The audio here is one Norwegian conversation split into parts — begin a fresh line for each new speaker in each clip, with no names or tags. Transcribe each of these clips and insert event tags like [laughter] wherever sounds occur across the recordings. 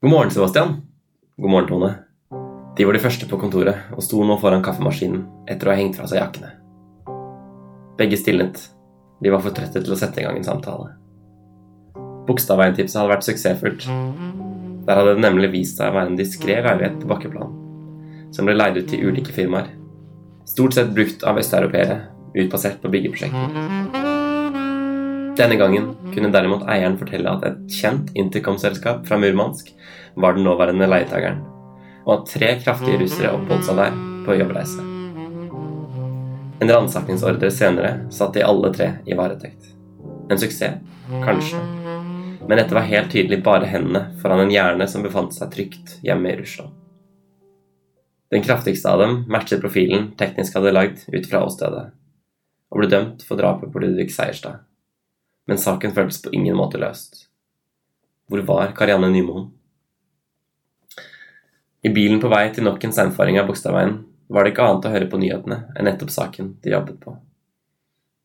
God morgen, Sebastian. God morgen, Tone. De var de første på kontoret og sto nå foran kaffemaskinen etter å ha hengt fra seg jakkene. Begge stilnet. De var for trette til å sette i gang en samtale. Bogstadveien-tipset hadde vært suksessfullt. Der hadde det nemlig vist seg å være en diskré leilighet på bakkeplan, som ble leid ut til ulike firmaer. Stort sett brukt av østeuropeere, utplassert på byggeprosjekter. Denne gangen kunne derimot eieren fortelle at et kjent intercom-selskap fra Murmansk var den nåværende leietakeren, og at tre kraftige russere oppholdt seg der på jobbreise. En ransakingsordre senere satt de alle tre i varetekt. En suksess? Kanskje. Men dette var helt tydelig bare hendene foran en hjerne som befant seg trygt hjemme i Russland. Den kraftigste av dem matchet profilen teknisk hadde lagd ut fra åstedet, og ble dømt for drapet på Ludvig Seierstad. Men saken føltes på ingen måte løst. Hvor var Karianne Nymoen? I bilen på vei til nok en seinfaring av Bogstadveien var det ikke annet å høre på nyhetene enn nettopp saken de jobbet på.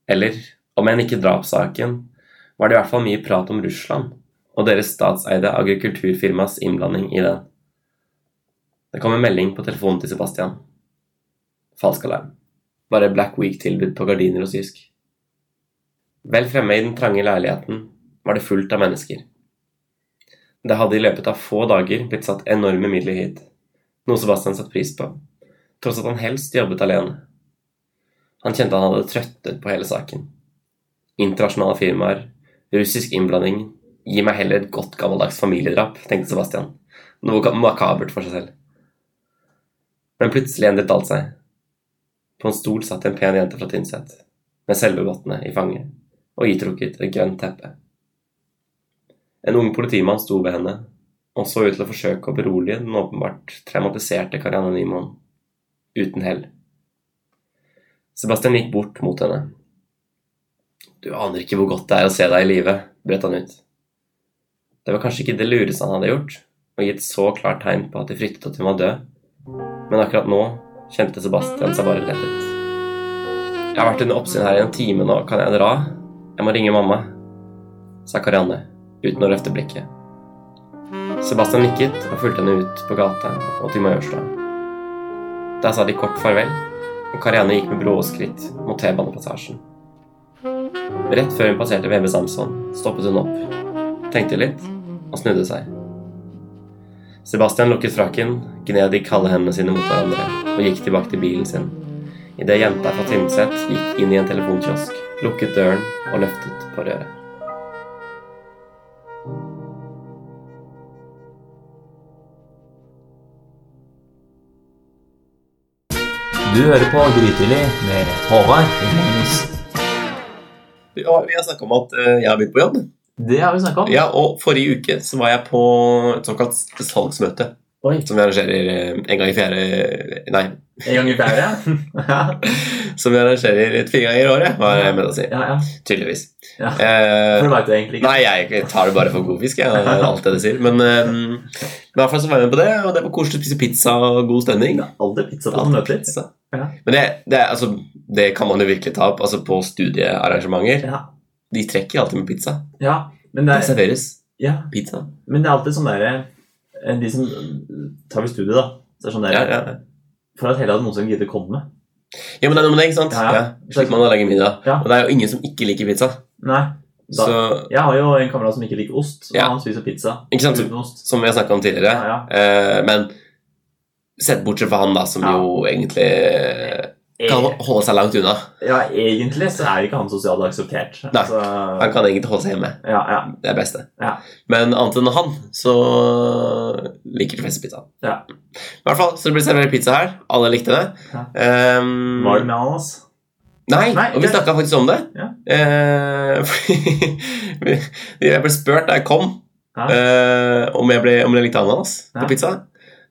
Eller, om enn ikke drapssaken, var det i hvert fall mye prat om Russland og deres statseide agrikulturfirmas innblanding i den. Det kom en melding på telefonen til Sebastian. Falsk alarm. Bare Black Week-tilbud på gardiner og sysk. Vel fremme i den trange leiligheten var det fullt av mennesker. Det hadde i løpet av få dager blitt satt enorme midler hit, noe Sebastian satte pris på, tross at han helst jobbet alene. Han kjente han hadde trøttet på hele saken. Internasjonale firmaer, russisk innblanding, gi meg heller et godt gammeldags familiedrap, tenkte Sebastian, noe makabert for seg selv. Men plutselig endret alt seg. På en stol satt en pen jente fra Tynset, med selvevottene i fanget, og itrukket et grønt teppe. En ung politimann sto ved henne og så ut til å forsøke å berolige den åpenbart traumatiserte Karianne Nymoen. Uten hell. Sebastian gikk bort mot henne. Du aner ikke hvor godt det er å se deg i live, brøt han ut. Det var kanskje ikke det lureste han hadde gjort, å gi et så klart tegn på at de fryktet at hun var død, men akkurat nå kjente Sebastian seg bare lettet. Jeg har vært under oppsyn her i en time nå, kan jeg dra? Jeg må ringe mamma, sa Karianne uten å løfte blikket. Sebastian nikket og fulgte henne ut på gata og til Majorstua. Der sa de kort farvel, og Karianne gikk med brå skritt mot T-banepassasjen. Rett før hun passerte VB Samson, stoppet hun opp, tenkte litt og snudde seg. Sebastian lukket frakken, gned de kalde hendene sine mot hverandre og gikk tilbake til bilen sin. Idet jenta fra Tynset gikk inn i en telefonkiosk, lukket døren og løftet på røret.
Du hører på Grytidlig med Håvard og Magnus.
Vi har snakka om at eh, jeg har begynt på jobb.
Det har vi snakka om.
Ja, og forrige uke så var jeg på et såkalt salgsmøte.
Oi.
Som vi arrangerer eh, en gang i fjerde Nei, [laughs]
En gang i fjerde? ja.
som vi arrangerer et fire ganger i året, var jeg med å si.
ja, ja.
Tydeligvis.
Ja.
Eh,
For du veit det egentlig ikke.
nei, jeg tar det bare for god fisk, jeg. Alt det de sier. Men, eh, men i hvert fall så var jeg med på det, og det var koselig å spise pizza og god stemning.
Det er Aldri pizza på den møtet.
Pizza.
Ja.
Men det, det, er- altså, det kan man jo virkelig ta opp altså på studiearrangementer.
Ja.
De trekker alltid med pizza.
ja. Men det
Det
er,
serveres
ja.
pizza.
Men det er alltid sånn derre eh, De som tar ved studiet, da. Så er det sånn
Ja,
der,
ja.
For at heller hadde noen som gidder komme med.
ja, men det er noe med det, ikke sant?
Ja, ja.
Ja, Slipper man å lage middag.
Ja.
Og det er jo ingen som ikke liker pizza.
Nei. Da,
Så,
jeg har jo en kamerat som ikke liker ost, og
Ja. Sånn
han spiser pizza
ikke sant?
uten ost.
Som vi har snakka om tidligere.
Ja,
Eh,
ja.
men sett bortsett fra han, da, som
Ja.
jo egentlig kan
Eh,
holde seg langt unna.
ja, egentlig så er ikke han sosialt akseptert.
Nei.
Altså,
Han kan egentlig holde seg hjemme.
ja, ja.
Det er beste.
Ja.
Men annet enn han, så liker de fleste pizza.
Ja.
I hvert fall, så det ble servert pizza her. Alle likte det.
Ja.
Ehm,
Var det med
[laughs]
ananas?
Nei,
Nei,
og vi
det-
snakka faktisk om det.
Ja.
Eh, [laughs] fordi vi- jeg ble spurt da jeg kom,
Ja.
eh, om, jeg ble, om jeg likte ananas
Ja.
på pizza.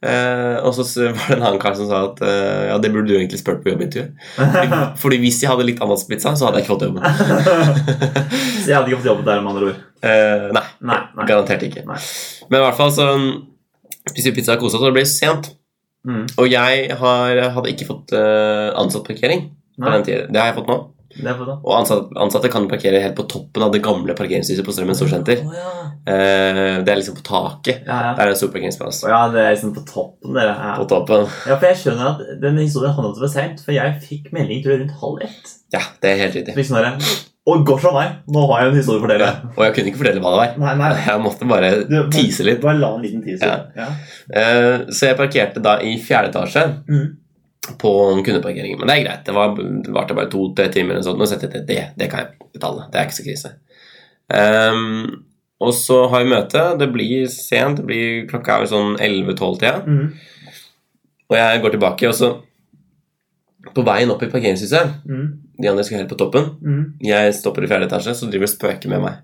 Eh, og så s- [laughs] var det en annen kar som sa at eh, ja, det burde du egentlig spurt på jobbintervjuet.
[laughs]
Fordi- Fordi hvis jeg hadde likt ananas på pizza, så hadde jeg ikke fått jobben. [laughs]
Så jeg hadde ikke fått jobbet der, med andre ord.
Eh, nei,
Nei. nei.
garantert ikke.
Nei.
Men i hvert fall så mm, spiste vi pizza og kosa oss, og det ble sent.
Mm.
Og jeg har, hadde ikke fått eh, ansatt parkering på
Nei.
den tiden. Det har jeg fått nå.
Det er på da.
Og ansatte, ansatte kan parkere helt på toppen av det gamle parkeringshuset på Strømmen storsenter.
Å, ja.
Eh, det er liksom på taket.
Ja, ja.
Der er det stor parkeringsplass.
Å, ja, det er liksom på toppen, dere. Ja.
På toppen.
ja, for jeg skjønner at den historien handlet om det sent, for jeg fikk melding tror jeg, rundt halv ett.
Ja, det er helt riktig.
Fikk sånn der, Å, går fra meg! Nå har jeg en historie for dere.
Ja. Og jeg kunne ikke fortelle hva det var.
Nei, nei.
Jeg måtte bare
Du, men-
tise litt.
Bare la en liten teaser.
Ja.
Ja.
Eh, Så jeg parkerte da i fjerde etasje
Mm.
på kundeparkeringen. Men det er greit. Det var- det varte bare to-tre timer. eller sånt, Nå setter jeg til det. Det kan jeg betale. Det er ikke så krise. Ehm, og så har vi møte. Det blir sent. Det blir, klokka er vel sånn 11-12-tida.
Mm.
Og jeg går tilbake, og så På veien opp i parkeringshuset
Mm.
De andre skulle helt på toppen.
Mm.
Jeg stopper i fjerde etasje, så driver og spøker med meg.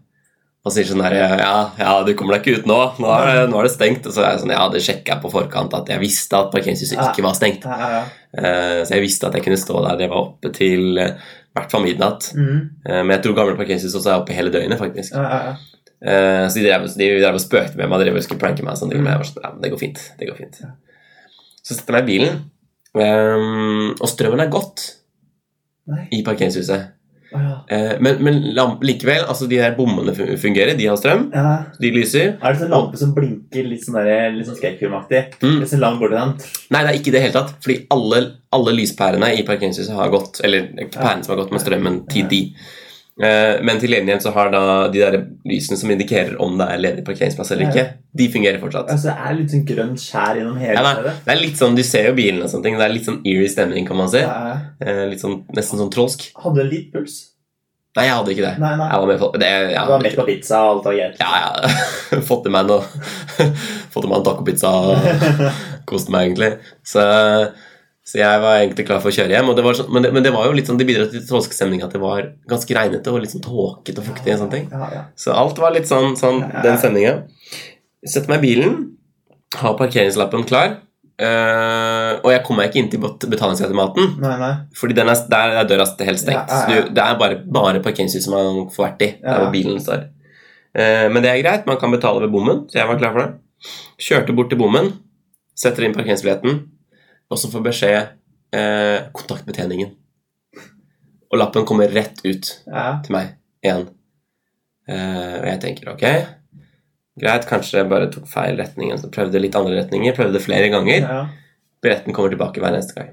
Og sier sånn her Ja, ja du kommer deg ikke ut nå. Nå er, det, nå er det stengt. Og så er jeg sånn Ja, det sjekka jeg på forkant, at jeg visste at parkeringshuset ikke var stengt.
Ja, ja, ja.
Eh, så jeg visste at jeg kunne stå der. Det var oppe til eh, i hvert fall midnatt.
Mm.
Eh, men jeg tror gamle parkeringshus også er oppe hele døgnet, faktisk.
Ja, ja, ja.
Eh, så de drev, de drev og spøkte med meg. De drev og skulle pranke meg. Sånn, de, men jeg var sånn, ja, men det går fint. Det går fint. Så setter jeg meg i bilen, eh, og strømmen er gått
Nei.
i parkeringshuset.
Å, ja.
Eh, men, men lamp, likevel, altså de der bommene fun- fungerer, de har strøm,
Ja.
de lyser.
Er det sånn lampe som blinker litt sånn der, litt sånn skrekkfilmaktig?
Mm.
Litt sånn langt borti den?
Nei, det er ikke i det hele tatt, fordi alle, alle lyspærene i parkeringshuset har gått, eller ikke pærene som har gått med strømmen til de. Eh, Men til gjengjeld så har da de der lysene som indikerer om det er ledig parkeringsplass eller ikke, de fungerer fortsatt.
Altså, det er litt sånn grønt skjær gjennom hele
Ja, nei.
stedet?
Det er litt sånn, Du ser jo bilene og sånne ting, det er litt sånn eerie stemning, kan man si.
Ja, ja, ja.
Eh, Litt sånn, Nesten sånn trolsk.
Hadde du litt puls?
Nei, jeg hadde ikke det.
Nei, nei.
Jeg var med på det. ja.
Du var mett på pizza og alt var greit?
Ja, ja. [laughs] Fått i meg noe Fått i meg en tacopizza og
[laughs]
kost meg, egentlig. Så, så jeg var egentlig klar for å kjøre hjem. Og det var sånn, men, det, men det var jo litt sånn, det bidro til trålskestemning at det var ganske regnete og litt sånn tåkete og fuktig. og sånne ting.
Ja, ja.
Så alt var litt sånn, sånn den stemninga. Setter meg i bilen, har parkeringslappen klar. eh, og jeg kommer meg ikke inn til bet- betalingsautomaten,
Nei, nei.
fordi den er, der er døra helt stengt.
Ja, ja, ja.
Så du, det er bare, bare parkeringshus som man får vært i.
Ja.
Der hvor bilen står. Eh, men det er greit, man kan betale ved bommen. Så jeg var klar for det. Kjørte bort til bommen, setter inn parkeringsbilletten, og så får beskjed eh, Kontakt betjeningen. Og lappen kommer rett ut
Ja.
til meg igjen. Eh, og jeg tenker ok, greit, kanskje jeg bare tok feil retning. Så prøvde litt andre retninger, prøvde flere ganger.
Ja.
Billetten kommer tilbake hver eneste gang.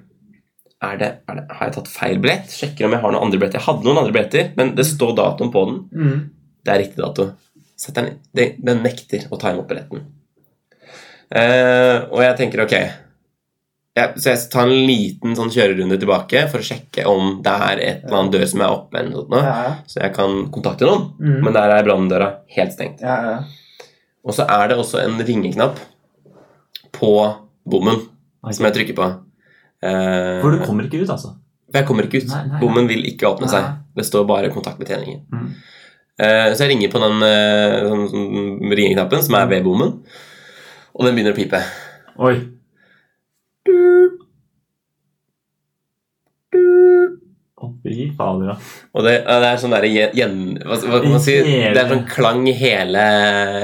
Er det, er det, har jeg tatt feil billett? Sjekker om jeg har noen andre billetter. Jeg hadde noen andre billetter, men det står datoen på den.
Mm.
Det er riktig dato. Setter den, den, den nekter å ta imot billetten. Eh, og jeg tenker ok jeg, Så jeg tar en liten sånn kjørerunde tilbake for å sjekke om det er et eller annet dør som er oppe, eller noe sånt,
Ja,
nå,
ja.
så jeg kan kontakte noen.
Mm.
Men der er branndøra helt stengt.
ja, ja.
Og så er det også en ringeknapp på bommen
Ok.
som jeg trykker på. Eh,
For du kommer ikke ut, altså?
for jeg kommer ikke ut.
Nei, nei, nei.
Bommen vil ikke åpne
Nei.
seg. Det står bare kontaktbetjeningen.
Mm.
Eh, så jeg ringer på den eh, sånn- sånn ringeknappen som
Mm.
er ved bommen, og den begynner å pipe.
Oi. Å, fy fader, da.
Og det, ja, det er sånn der gjen... gjen- Hva, hva kan man si?
Hele-
Det er sånn klang i hele,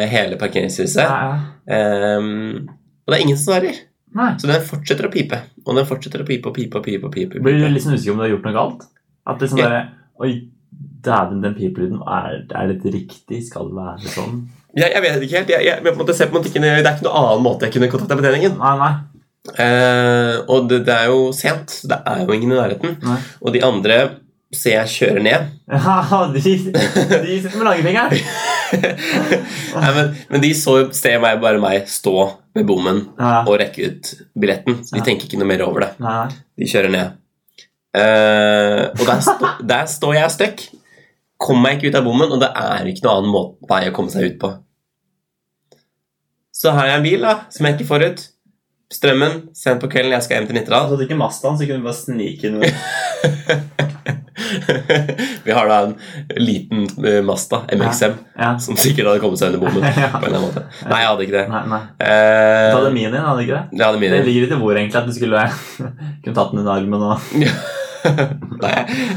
hele
Ja,
parkeringshuset.
ja.
Eh, og det er ingen som svarer.
Nei.
Så den fortsetter å pipe. Og den fortsetter å pipe og pipe og pipe. og pipe, og
Blir du
pipe.
liksom usikker om du har gjort noe galt? At liksom
Ja.
bare Oi, dæven, den pipelyden. Er, er dette riktig? Skal det være sånn?
Jeg, jeg vet ikke helt. Jeg, jeg, men på en måte, ser på en måte ikke, det er ikke noen annen måte jeg kunne kontakta betjeningen.
Nei, nei.
Eh, og det, det er jo sent, så det er jo ingen i nærheten.
Nei.
Og de andre ser jeg kjører ned. [laughs]
Ja, de, de sitter med langfingeren.
Nei, men, men de så, ser meg, bare meg stå ved bommen
Ja.
og rekke ut billetten. Så de
Ja.
tenker ikke noe mer over det.
Nei, nei.
De kjører ned. Eh, og der, stå,
[laughs]
der står jeg stuck. Kommer meg ikke ut av bommen, og det er ikke noen annen måte, vei å komme seg ut på. Så har jeg en bil da, som jeg ikke får ut. Strømmen, sent på kvelden, jeg skal hjem til Nittedal. [laughs]
Altså, hadde ikke Mazdaen, så kunne du bare snike inn.
Vi har da en liten eh, Mazda MXM
Ja.
som sikkert hadde kommet seg under
[laughs]
bommen.
Ja.
på en eller annen måte. Nei, jeg hadde ikke det.
Nei, nei. Du
Eh,
hadde min inn, hadde du ikke det?
jeg hadde
Det
mine.
ligger litt i bordet, egentlig, at du skulle [laughs] kunne tatt den under armen og
[laughs] Nei,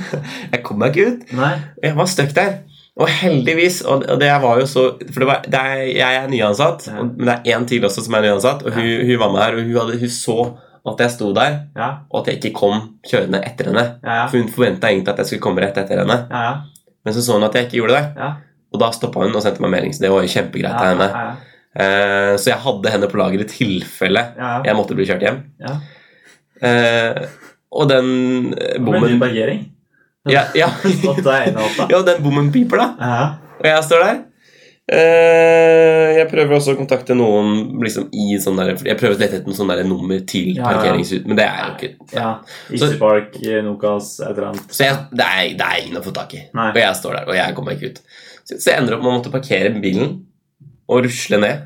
jeg kom meg ikke ut.
Nei.
Jeg var stuck der. Og heldigvis og og det var jo så, For det var, det er, jeg er nyansatt,
Ja.
og- men det er én til også som er nyansatt. Og hun, hun var med her, og hun, hadde, hun så og at jeg sto der,
Ja,
og at jeg ikke kom kjørende etter henne.
ja, ja.
For hun forventa egentlig at jeg skulle komme rett etter henne,
ja, ja.
men så så hun at jeg ikke gjorde det.
Ja.
Og da stoppa hun og sendte meg melding, så det var jo kjempegreit av henne.
Ja,
Eh, så jeg hadde henne på lager i tilfelle
ja, ja.
jeg måtte bli kjørt hjem.
Ja.
Eh, og den eh,
Med
bommen
ny parkering.
ja, ja.
[laughs] Stått deg ene
[laughs]
åtta.
ja, den bommen piper, da.
Ja,
Og jeg står der. Eh, jeg prøver også å kontakte noen liksom, i sånn der, Jeg prøver å lete etter noe sånn der nummer til
Ja, ja.
parkeringshus, men det er jo ikke
ja. Easy Park, eh, Nokas, et eller annet.
Så jeg, det, er, det er ingen å få tak i.
Nei.
Og jeg står der, og jeg kommer meg ikke ut. Så, så jeg ender opp med å måtte parkere bilen og rusle ned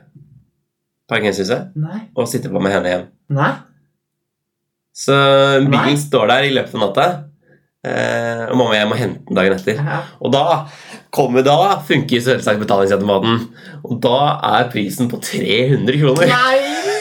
parkeringshuset
Nei.
og sitte på med henne hjem.
Nei.
Så bilen
Nei.
står der i løpet av natta, eh, og mamma og jeg må hente den dagen etter.
Ja.
Og da kommer da funker selvsagt betalingsautomaten. Og da er prisen på 300 kroner
Nei!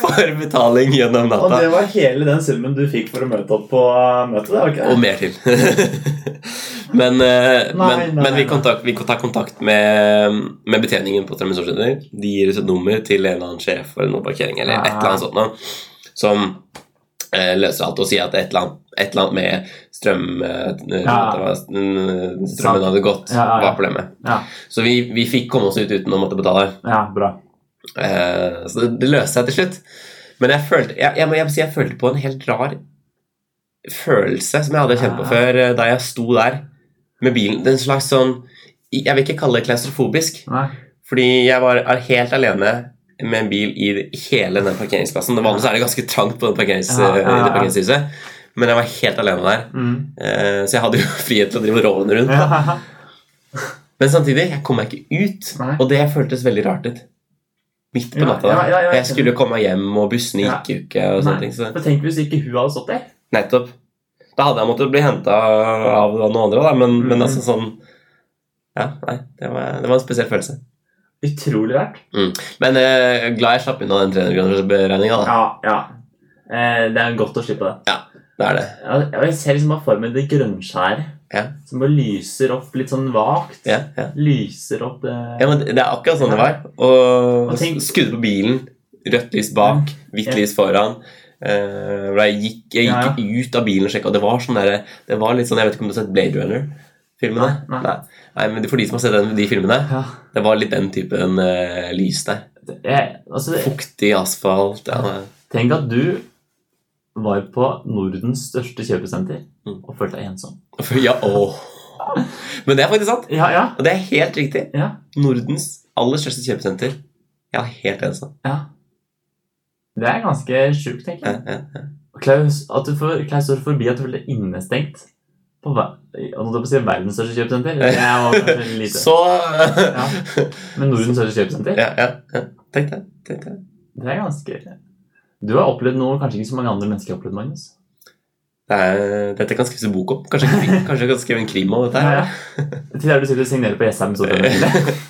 for betaling gjennom
Og
natta.
det var hele den summen du fikk for å møte opp på eh, møtet? det var ikke
Og
det?
mer til. [laughs] men, eh,
Nei,
men,
nei,
men vi,
nei.
kontakt, vi tar kontakt med, med betjeningen på Strømmen Storsenter. De gir oss et nummer til en eller annen sjef for noe parkering eller et
Ah.
eller annet sånt noe, som eh, løser alt og sier at et eller annet, et eller annet med strøm, eh,
Ja.
at det var, mm, strømmen hadde gått,
Ja, ja, ja.
var problemet.
Ja.
Så vi, vi fikk komme oss ut uten å måtte betale.
Ja, bra.
Eh, så det, det løste seg til slutt. Men jeg følte, jeg, jeg, må- jeg, må si jeg følte på en helt rar følelse som jeg hadde kjent på
Ja.
før eh, da jeg sto der med bilen. Det er en slags sånn Jeg vil ikke kalle det klaustrofobisk,
Nei.
fordi jeg var er helt alene med en bil i hele den parkeringsplassen. Det Vanligvis er det ganske trangt på den parkerings, eh,
Ja, ja, ja.
i det parkeringshuset, men jeg var helt alene der.
Mm.
Eh, så jeg hadde jo [laughs] frihet til å drive rålende rundt. Da.
Ja. [laughs]
Men samtidig, jeg kom meg ikke ut,
Nei.
og det føltes veldig rart ut. Midt på
Ja,
natta.
ja,
da.
ja, ja, jeg
jeg skulle komme meg hjem, og bussene
Ja.
gikk jo ikke. og
Nei.
sånne ting. Så.
Men tenk hvis ikke hun hadde stått der.
Nettopp. Da hadde jeg måttet bli henta av noen andre, da. Men, men
Mhm.
altså sånn Ja, nei, det var, det var en spesiell følelse.
Utrolig rart.
Men eh, glad jeg slapp unna den altså. 300-kronersregninga, da.
Ja, ja. Eh, det er godt å slippe det.
Det er det.
Ja, Jeg ser liksom bare for meg det grønnskjæret
Ja.
som bare lyser opp litt sånn vagt.
Ja, ja.
Lyser opp eh,
ja, men Det det er akkurat sånn det var. Og
Og tenk-
skuddet på bilen. Rødt lys bak, hvitt
Ja.
lys foran. Eh, hvor jeg gikk, jeg
Ja,
gikk ut av bilen og sjekka, og det var sånn der, Det var litt sånn, Jeg vet ikke om du har sett Blade Runner-filmene?
Nei, nei.
Nei, men For de som har sett den, de filmene,
Ja.
det var litt den typen eh, lys der.
det- jeg, altså, det-
Fuktig asfalt ja, det-
Tenk at du var på Nordens største kjøpesenter
Mm.
og følte deg ensom.
Ja, åh. Men det er faktisk sant.
Ja, ja.
Og det er helt riktig.
Ja.
Nordens aller største kjøpesenter. Ja, helt altså. ensom.
ja. Det er ganske sjukt, tenker
Ja,
jeg.
ja, ja.
Klaus, at du får, Klaus står forbi at du føler deg innestengt på ver og nå holdt jeg på å si verdens største kjøpesenter. Det var kanskje lite.
[laughs] Så [laughs]
Ja. Men Nordens største kjøpesenter,
Ja, ja, ja. Tenk det. Tenk det.
det er ganske Du har opplevd noe kanskje ikke så mange andre mennesker har opplevd, Magnus.
Det er, dette kan skrives en bok om. Kanskje, kanskje jeg kan skrive en krim om dette?
Ja,
her
ja. Til der du sitter og signerer på Jessheim
[laughs]
så det er det.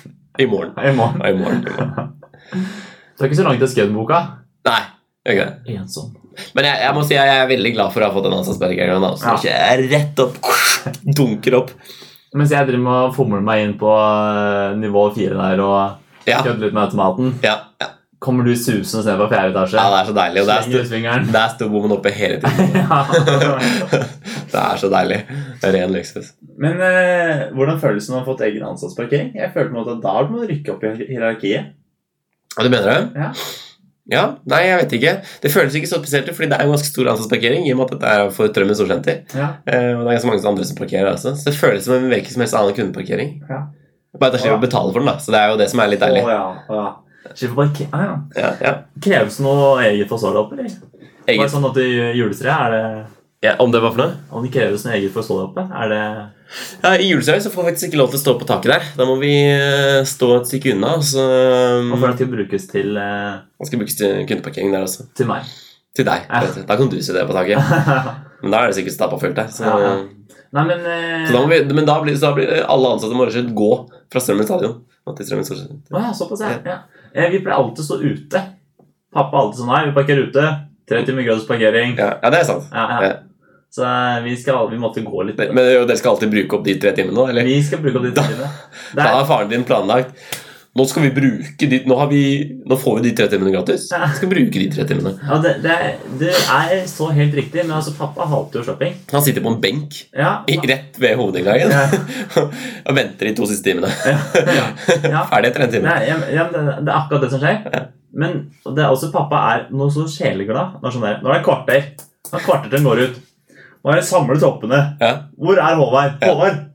I morgen.
i morgen.
Ja, I morgen. I morgen.
Du er ikke så langt til å skrive boka.
Nei. jeg gjør ikke det.
Ensom.
Men jeg, jeg må si jeg er veldig glad for å ha fått en ansatsbergeren. Så ikke jeg rett opp [laughs] dunker opp.
Mens jeg driver med å fomle meg inn på eh, nivå fire der og
Ja, ja,
kødder litt med automaten,
ja, ja.
kommer du susende ned på fjerde etasje.
Det er så deilig. Og der sto,
Slenger ut fingeren. [laughs]
der sto bommen oppe hele tiden.
Ja.
[laughs] Det er så deilig. Det er Ren luksus.
Men eh, hvordan føles det når du har fått egen ansatsparkering? Jeg følte på en måte at da må du rykke opp i hierarkiet.
Og du mener det?
Ja.
Ja, Nei, jeg vet ikke. Det føles ikke så spesielt ut, fordi det er jo ganske stor ansatsparkering i og med at dette er for Trømmen storsenter.
Ja.
Eh, Og det er ganske mange andre som parkerer også. Så det føles som en hvilken som helst annen kundeparkering.
Ja.
Bare at jeg slipper å betale for den, da. Så det er jo det som er litt deilig.
Å, ja. å, ja. Slipper parker- ah, ja.
Ja, ja.
Kreves det noe eget for såret opp, eller? Var det
Eget.
sånn at i juletreet er det
Ja, om det var for noe?
Om det kreves noe eget for såret oppe, er det
Ja, I juletreet så får vi faktisk ikke lov til å stå på taket der. Da må vi eh, stå et stykke unna. og Så eh,
Og
Mm.
for det skal brukes til, eh,
Man skal brukes til kundeparkering der også.
til meg. [laughs]
Til deg.
Ja.
vet du. Da kan du sitte på taket.
Nei,
Men da er det sikkert stappa fullt der. Så,
Ja, ja. men eh,
så da må vi, men da blir, så da blir alle ansatte må rett og slett gå fra Strømmen stadion. og til Strømmen Storsenter.
Å ja, såpass, ja. ja. Eh, Vi pleier alltid å stå ute. Pappa er alltid sånn Nei, vi parkerer ute. 30 med gratis parkering.
Ja, ja, det er sant.
Ja, ja.
Ja.
Så eh, vi, skal, vi måtte gå litt.
Men dere skal alltid bruke opp de tre timene nå, eller?
Vi skal bruke opp de timene. Det
Da
er-
har faren din planlagt Nå skal vi bruke de Nå, har vi, nå får vi de tre timene gratis. Vi skal bruke de tre timene.
Ja, det, det, er- det er så helt riktig, men altså, pappa hater jo shopping.
Han sitter på en benk
Ja,
i- rett ved hovedinngangen
Ja.
[laughs] og venter de to siste timene.
ja, ja.
[laughs] Ferdig etter en time.
Nei, ja, men- ja, men det, det er akkurat det som skjer. Men det er også pappa er noe så sjeleglad. Når sånn der, nå er det kvarter. Nå er det kvarter til den går ut. Nå er det samlet toppene.
Ja. [laughs]
Hvor er Håvard? Håvard!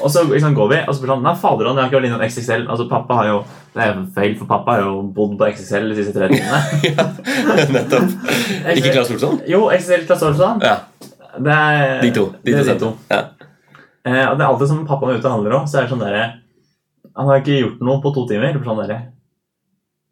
Og så liksom, går vi, og så blir det sånn Nei, fader, han har ikke vært innom XXL. Altså, pappa har jo Det er jo feil, for pappa har jo bodd på XXL de siste tre timene. [laughs]
ja, nettopp. Ikke Claes Olsson?
Jo, XXL Klasse Olsson.
Ja,
Det er
de to. De
det
to
er de
sammen. Ja.
Eh, og det er alltid som pappaen er ute og handler òg, så er det sånn derre Han har ikke gjort noe på to timer. Det blir Sånn derre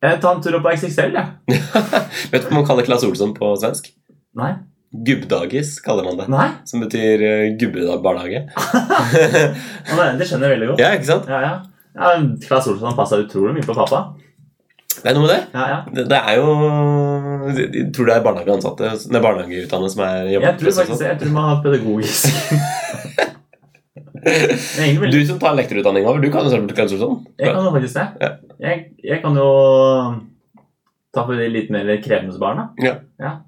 Jeg tar en tur opp på XXL, jeg. Ja.
Vet du hva man kaller Claes Olsson på svensk?
Nei.
Gubbdagis kaller man det.
Nei.
Som betyr eh, gubbebarnehage. [laughs]
Ja, det, det skjønner jeg veldig godt.
ja, ikke sant?
Ja, ja. ja Klas Olsson passa utrolig mye på pappa.
Det er noe med det.
Ja, ja.
Det, det er jo jeg Tror det er barnehageansatte Nei, barnehageutdannede som er jobber.
Jeg tror
sånn.
faktisk det. Jeg tror man har
[laughs]
pedagogisk Det er egentlig veldig
Du som tar lektorutdanning over, du kan jo sånn. selvfølgelig Claes Olsson.
Jeg kan jo faktisk det.
Ja.
Jeg, jeg kan jo um, ta for de litt mer krevende barna.
Ja.
ja.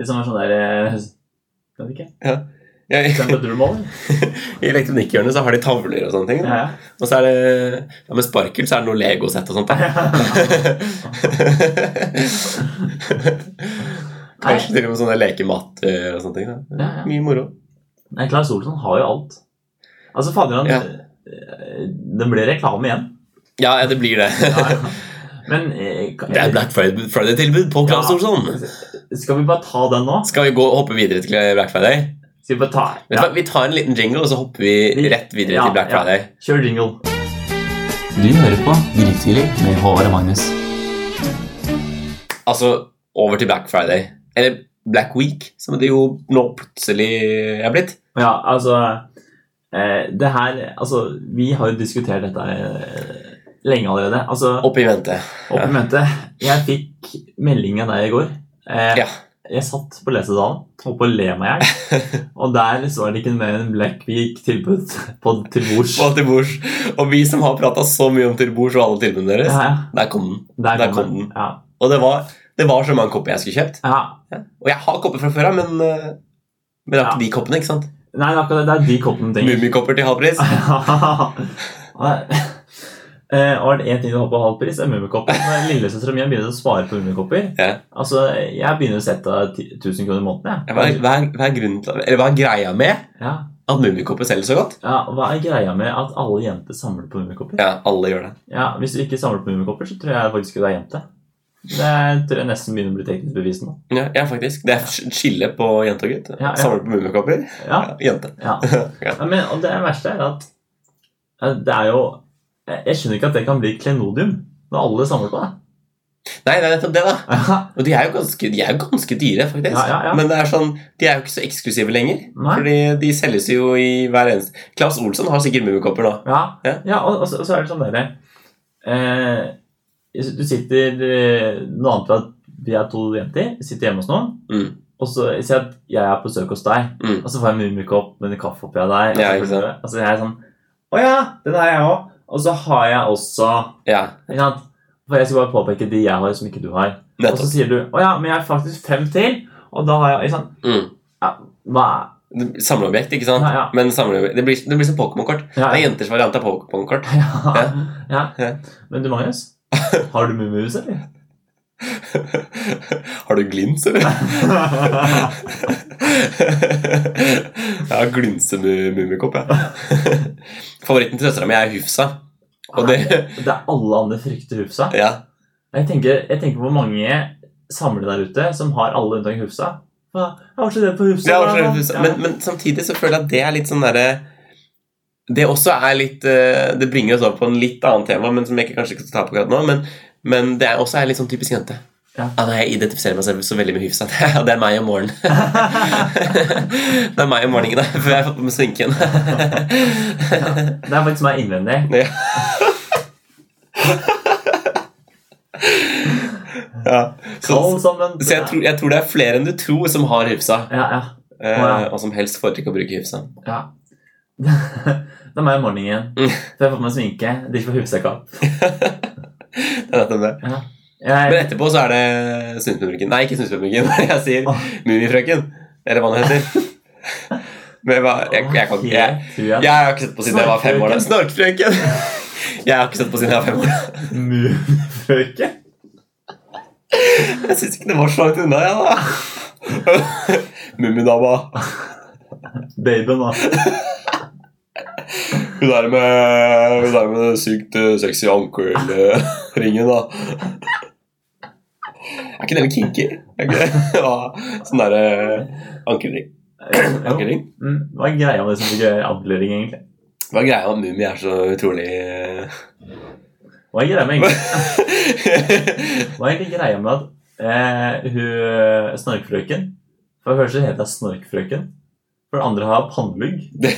De som er sånn der eh, [laughs] Vet ikke.
Ja, i- [laughs]
Temperaturmåler.
I elektronikkhjørnet så har de tavler og sånne ting.
Ja, [laughs] ja.
Og så er det ja, Med sparkel så er det noe legosett og
[laughs]
sånt. Da. Kanskje til og med sånne lekematter og sånne ting. Da.
Ja, ja.
Mye moro.
Nei, Klaus Olsson har jo alt. Altså, fader han
Ja.
eh, Det ble reklame igjen.
[laughs] Ja, ja, det blir det.
Men eh, kan-
Det er Black Friday- Friday-tilbud på Claes
Ja.
Olsson.
skal vi bare ta den nå?
Skal vi gå hoppe videre til Black Friday?
Skal vi bare ta
Vet du hva, Vi tar en liten jingle, og så hopper vi
Vi-
rett videre
ja,
til Black
ja.
Friday.
Kjør jingle.
Du hører på Grytidlig med Håvard og Magnus.
Altså over til Black Friday. Eller Black Week, som det jo nå plutselig er blitt.
Ja, altså eh, Det her Altså, vi har jo diskutert dette eh, lenge allerede. Altså,
Oppe i vente.
opp i mente. Jeg fikk melding av deg i går. Eh,
Ja.
Jeg satt på lesesalen, holdt på å le meg i hjel, og der så var det ikke mer enn Black Week-tilbud på til bords.
Og til bords. Og vi som har prata så mye om til bords og alle tilbudene deres,
Ja, ja.
der kom den.
Der,
Der
kom
kom
den.
den.
Ja.
Og det var, det var så mange kopper jeg skulle kjøpt.
ja.
Og jeg har kopper fra før av, men, eh, men det er ikke de koppene, ikke sant?
Nei, det er akkurat det. Det er de koppene ting.
Mummikopper til
[laughs]
halv pris.
Eh, og er det én ting du har på halv pris, er mummikopper. Når Lillesøstera mi begynner å spare på mummikopper.
Ja.
Altså, jeg begynner å sette ti- 1000 kroner i måneden.
Hva er,
Jeg.
hva, er, hva, er grunnen til, eller hva er greia med
Ja.
at mummikopper selger så godt?
Ja, og hva er greia med at alle jenter samler på mummikopper?
Ja, alle gjør det.
Ja, hvis du ikke samler på mummikopper, så tror jeg faktisk du er jente. Det tror jeg nesten begynner å bli teknisk bevist nå.
Ja, ja faktisk. Det er sk- skille på jente og gutt.
Ja, ja.
Samler på mummikopper.
Ja,
Ja, jente.
ja.
Ja.
Ja, Men, og det verste er at eh, det er jo Jeg jeg skjønner ikke at det kan bli klenodium når alle samler på det.
Nei, det er nettopp det, da.
Ja,
[laughs] Og de er jo ganske, de er jo ganske dyre, faktisk.
ja, ja.
Men det er sånn, de er jo ikke så eksklusive lenger.
Nei.
Fordi de selges jo i hver eneste Claes Olsson har sikkert mummikopper nå.
ja.
Ja.
ja og, og, så, og så er det sånn derre eh, Du sitter eh, Noe annet ved at vi er to jenter, vi sitter hjemme hos noen,
Mm.
og så jeg sier at jeg er på besøk hos deg,
Mm.
og så får jeg mummikopp med en kaffe oppi av deg.
Ja,
og
ikke
så følger
sant.
jeg- Altså, jeg er sånn Å ja, den har jeg òg. Og så har jeg også
Ja,
Ikke sant? For jeg skal bare påpeke de jeg har, som ikke du har. Og så
nettopp.
sier du å ja, men jeg har faktisk fem til. Og da har jeg ikke sant?
Mm.
Hva
Samleobjekt, ikke sant?
Ja, ja.
Men samleobjekt, det, blir, det blir som Pokémon-kort.
er ja,
Det er
ja.
jenters variant av Pokémon-kort. [laughs]
Ja, [laughs]
Ja.
ja. Men
[laughs]
du, Magnus, har du mummus, eller?
Har du glins, eller? [laughs] jeg har glinsemummikopp, jeg. [laughs] Favoritten til søstera mi er Hufsa.
Ah.
Og det,
Det er alle andre frykter Hufsa.
ja,
Jeg tenker, jeg tenker hvor mange samler der ute som har alle unntatt Hufsa. Hva? Jeg var så redd for Hufsa.
det er
da.
også redd Hufsa. Men, men samtidig så føler jeg at det er litt sånn derre Det også er litt eh, Det bringer oss over på en litt annet tema, men som jeg ikke- kanskje ikke skal ta på akkurat nå. Men, men det er også er litt sånn typisk jente.
Ja.
Ah, nei, jeg identifiserer meg selv så veldig med [laughs] Hufsa. Ja, det er meg om morgenen. [laughs] det er meg om morgenen, da, før jeg har fått på meg sminken.
det er faktisk meg innvendig.
[laughs] Ja.
Kall
Så,
sammen.
så jeg, tror, jeg tror det er flere enn du tror som har hyfsa,
Ja, ja.
eh,
Å, ja.
og som helst foretrekker å bruke hyfsa.
ja. [laughs] Det er meg om morgenen igjen.
Mm.
For jeg har fått meg sminke. De får husekka.
Det er nettopp det. Men
Jeg,
etterpå så er det Snusmumrikken. Nei, ikke [laughs] Snusmumrikken. Jeg sier Mummifrøken. Eller hva den heter. Men hva, jeg, jeg kan ikke jeg,
Helt uenig.
jeg har ikke sett på siden jeg var fem år. da. Snorkfrøken! [laughs] Jeg har ikke sett på siden jeg var fem år. [laughs]
Mufrøken?
Jeg syns ikke det var så langt unna, jeg, da. [laughs] Mummidama.
Babyen, da.
Hun der med, hun der med den sykt eh, sexy [laughs] ankelringen, da. Er ikke det litt kinky? Er ikke det? [laughs] Ja, sånn derre ankelring.
Jo.
ankelring.
Mm, Hva er greia med det som ikke er anklering, egentlig?
Hva er greia med at Mummi er så utrolig [laughs] eh,
Hva er greia
[laughs]
med, hva er egentlig greia med at eh, hun snorkfrøken For det første heter jeg snorkfrøken. For det andre har jeg pannelugg. Det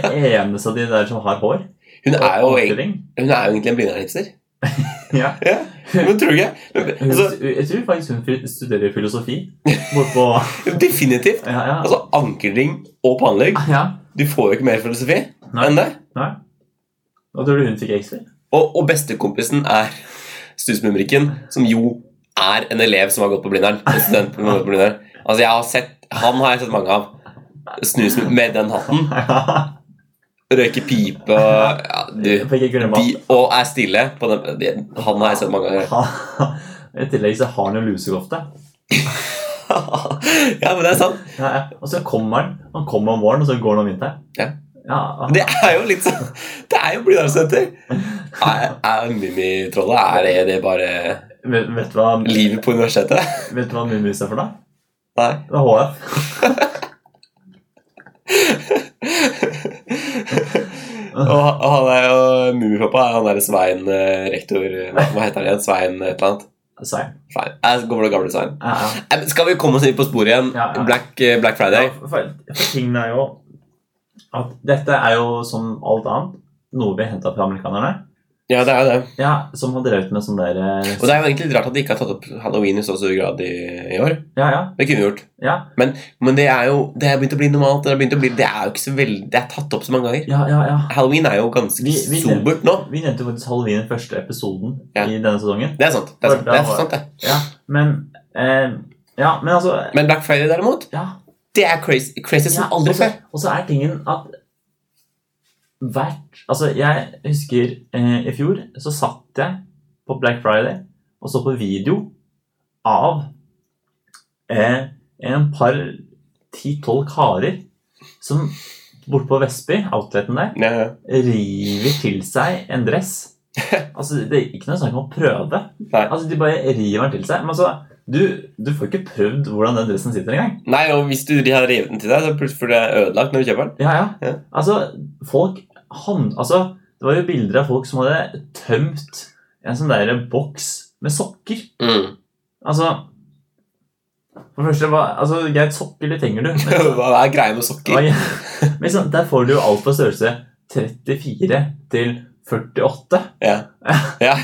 er det eneste av de der som har hår.
Hun er jo,
Og
eg-
anklering.
hun er jo egentlig en blindernhipster.
[laughs] Ja.
Ja, men tror du ikke? Men,
Hun,
altså,
jeg tror faktisk hun fil- studerer filosofi. Bortpå
definitivt.
[laughs] Ja, ja.
Altså, Ankelring og pannelugg.
ja.
Du får jo ikke mer filosofi
Nei.
enn det.
Nei. Hva tror du hun fikk X for?
Og, og bestekompisen er Stusmumrikken, som jo er en elev som har gått på Blindern. En student som har gått på Blindern. Altså, jeg har sett, Han har jeg sett mange av. Snus med den
[laughs]
hatten, røyke pipe og- ja,
Jeg
du,
fikk ikke glemme
de, Og er stille. På den, de, han har jeg sett mange ganger. [laughs]
at I tillegg så har han jo lusekofte.
ja, men det er sant.
Ja, ja. Og så kommer han. Han kommer om våren, og så går han om vinteren.
Ja.
Ja,
Det er jo litt sånn Det er jo Blindern-studenter. Er, er Mummitrollet Er det, det bare
Vet, vet, du hva,
livet på universitetet?
vet du hva mummis er for noe?
Nei.
Det er HF.
Og han- og han er jo Mummipappa er han derre Svein eh, rektor eh, Hva heter han igjen? Svein eh, et eller annet?
Svein.
Svein. Jeg kommer til gamle Svein.
Ja, ja.
Nei, men Skal vi komme oss inn på sporet igjen?
Ja, ja.
Black, eh, Black Friday.
For, for, for tingen er jo at dette er jo som alt annet noe vi henta fra amerikanerne.
Ja, det er jo det.
Ja, Som har drevet med sånn der eh,
Og det er jo egentlig litt rart at de ikke har tatt opp halloween i så stor grad i, i år.
Ja, ja.
Det kunne vi gjort.
Ja,
Men, men det er jo Det er begynt å bli normalt. Det er, begynt å bli, det er jo ikke så veldig Det er tatt opp så mange ganger.
ja, ja, ja.
Halloween er jo ganske
Vi- vi-
sobert nå.
Vi nevnte jo faktisk halloween i den første episoden
Ja.
i denne sesongen.
Det er sant. Det er sant, det er sant det.
Ja, Men eh, Ja, men altså
Men Black Friday derimot,
Ja.
det er crazy, crazy som
Ja, altså.
aldri
og så-
før.
Og så er tingen at hvert Altså, jeg husker eh, i fjor så satt jeg på Black Friday og så på video av eh, en par ti-tolv karer som borte på Vestby, outleten der,
Ja, ja.
river til seg en dress. Altså, Det er ikke noe snakk om å prøve.
Nei.
Altså, De bare river den til seg. Men altså, du, du får ikke prøvd hvordan den dressen sitter engang.
Nei, og hvis du har revet den til deg, så plutselig blir det ødelagt når du kjøper den.
Ja, ja.
Ja.
Altså, folk han, altså, Det var jo bilder av folk som hadde tømt en sånn der boks med sokker. Altså For det første, hva, altså, greit, sokker det trenger du.
[laughs]
Men,
[laughs] Hva er greia med sokker?
ja, [laughs] men sånn, der får du jo alt fra størrelse 34 til 48.
Ja. ja.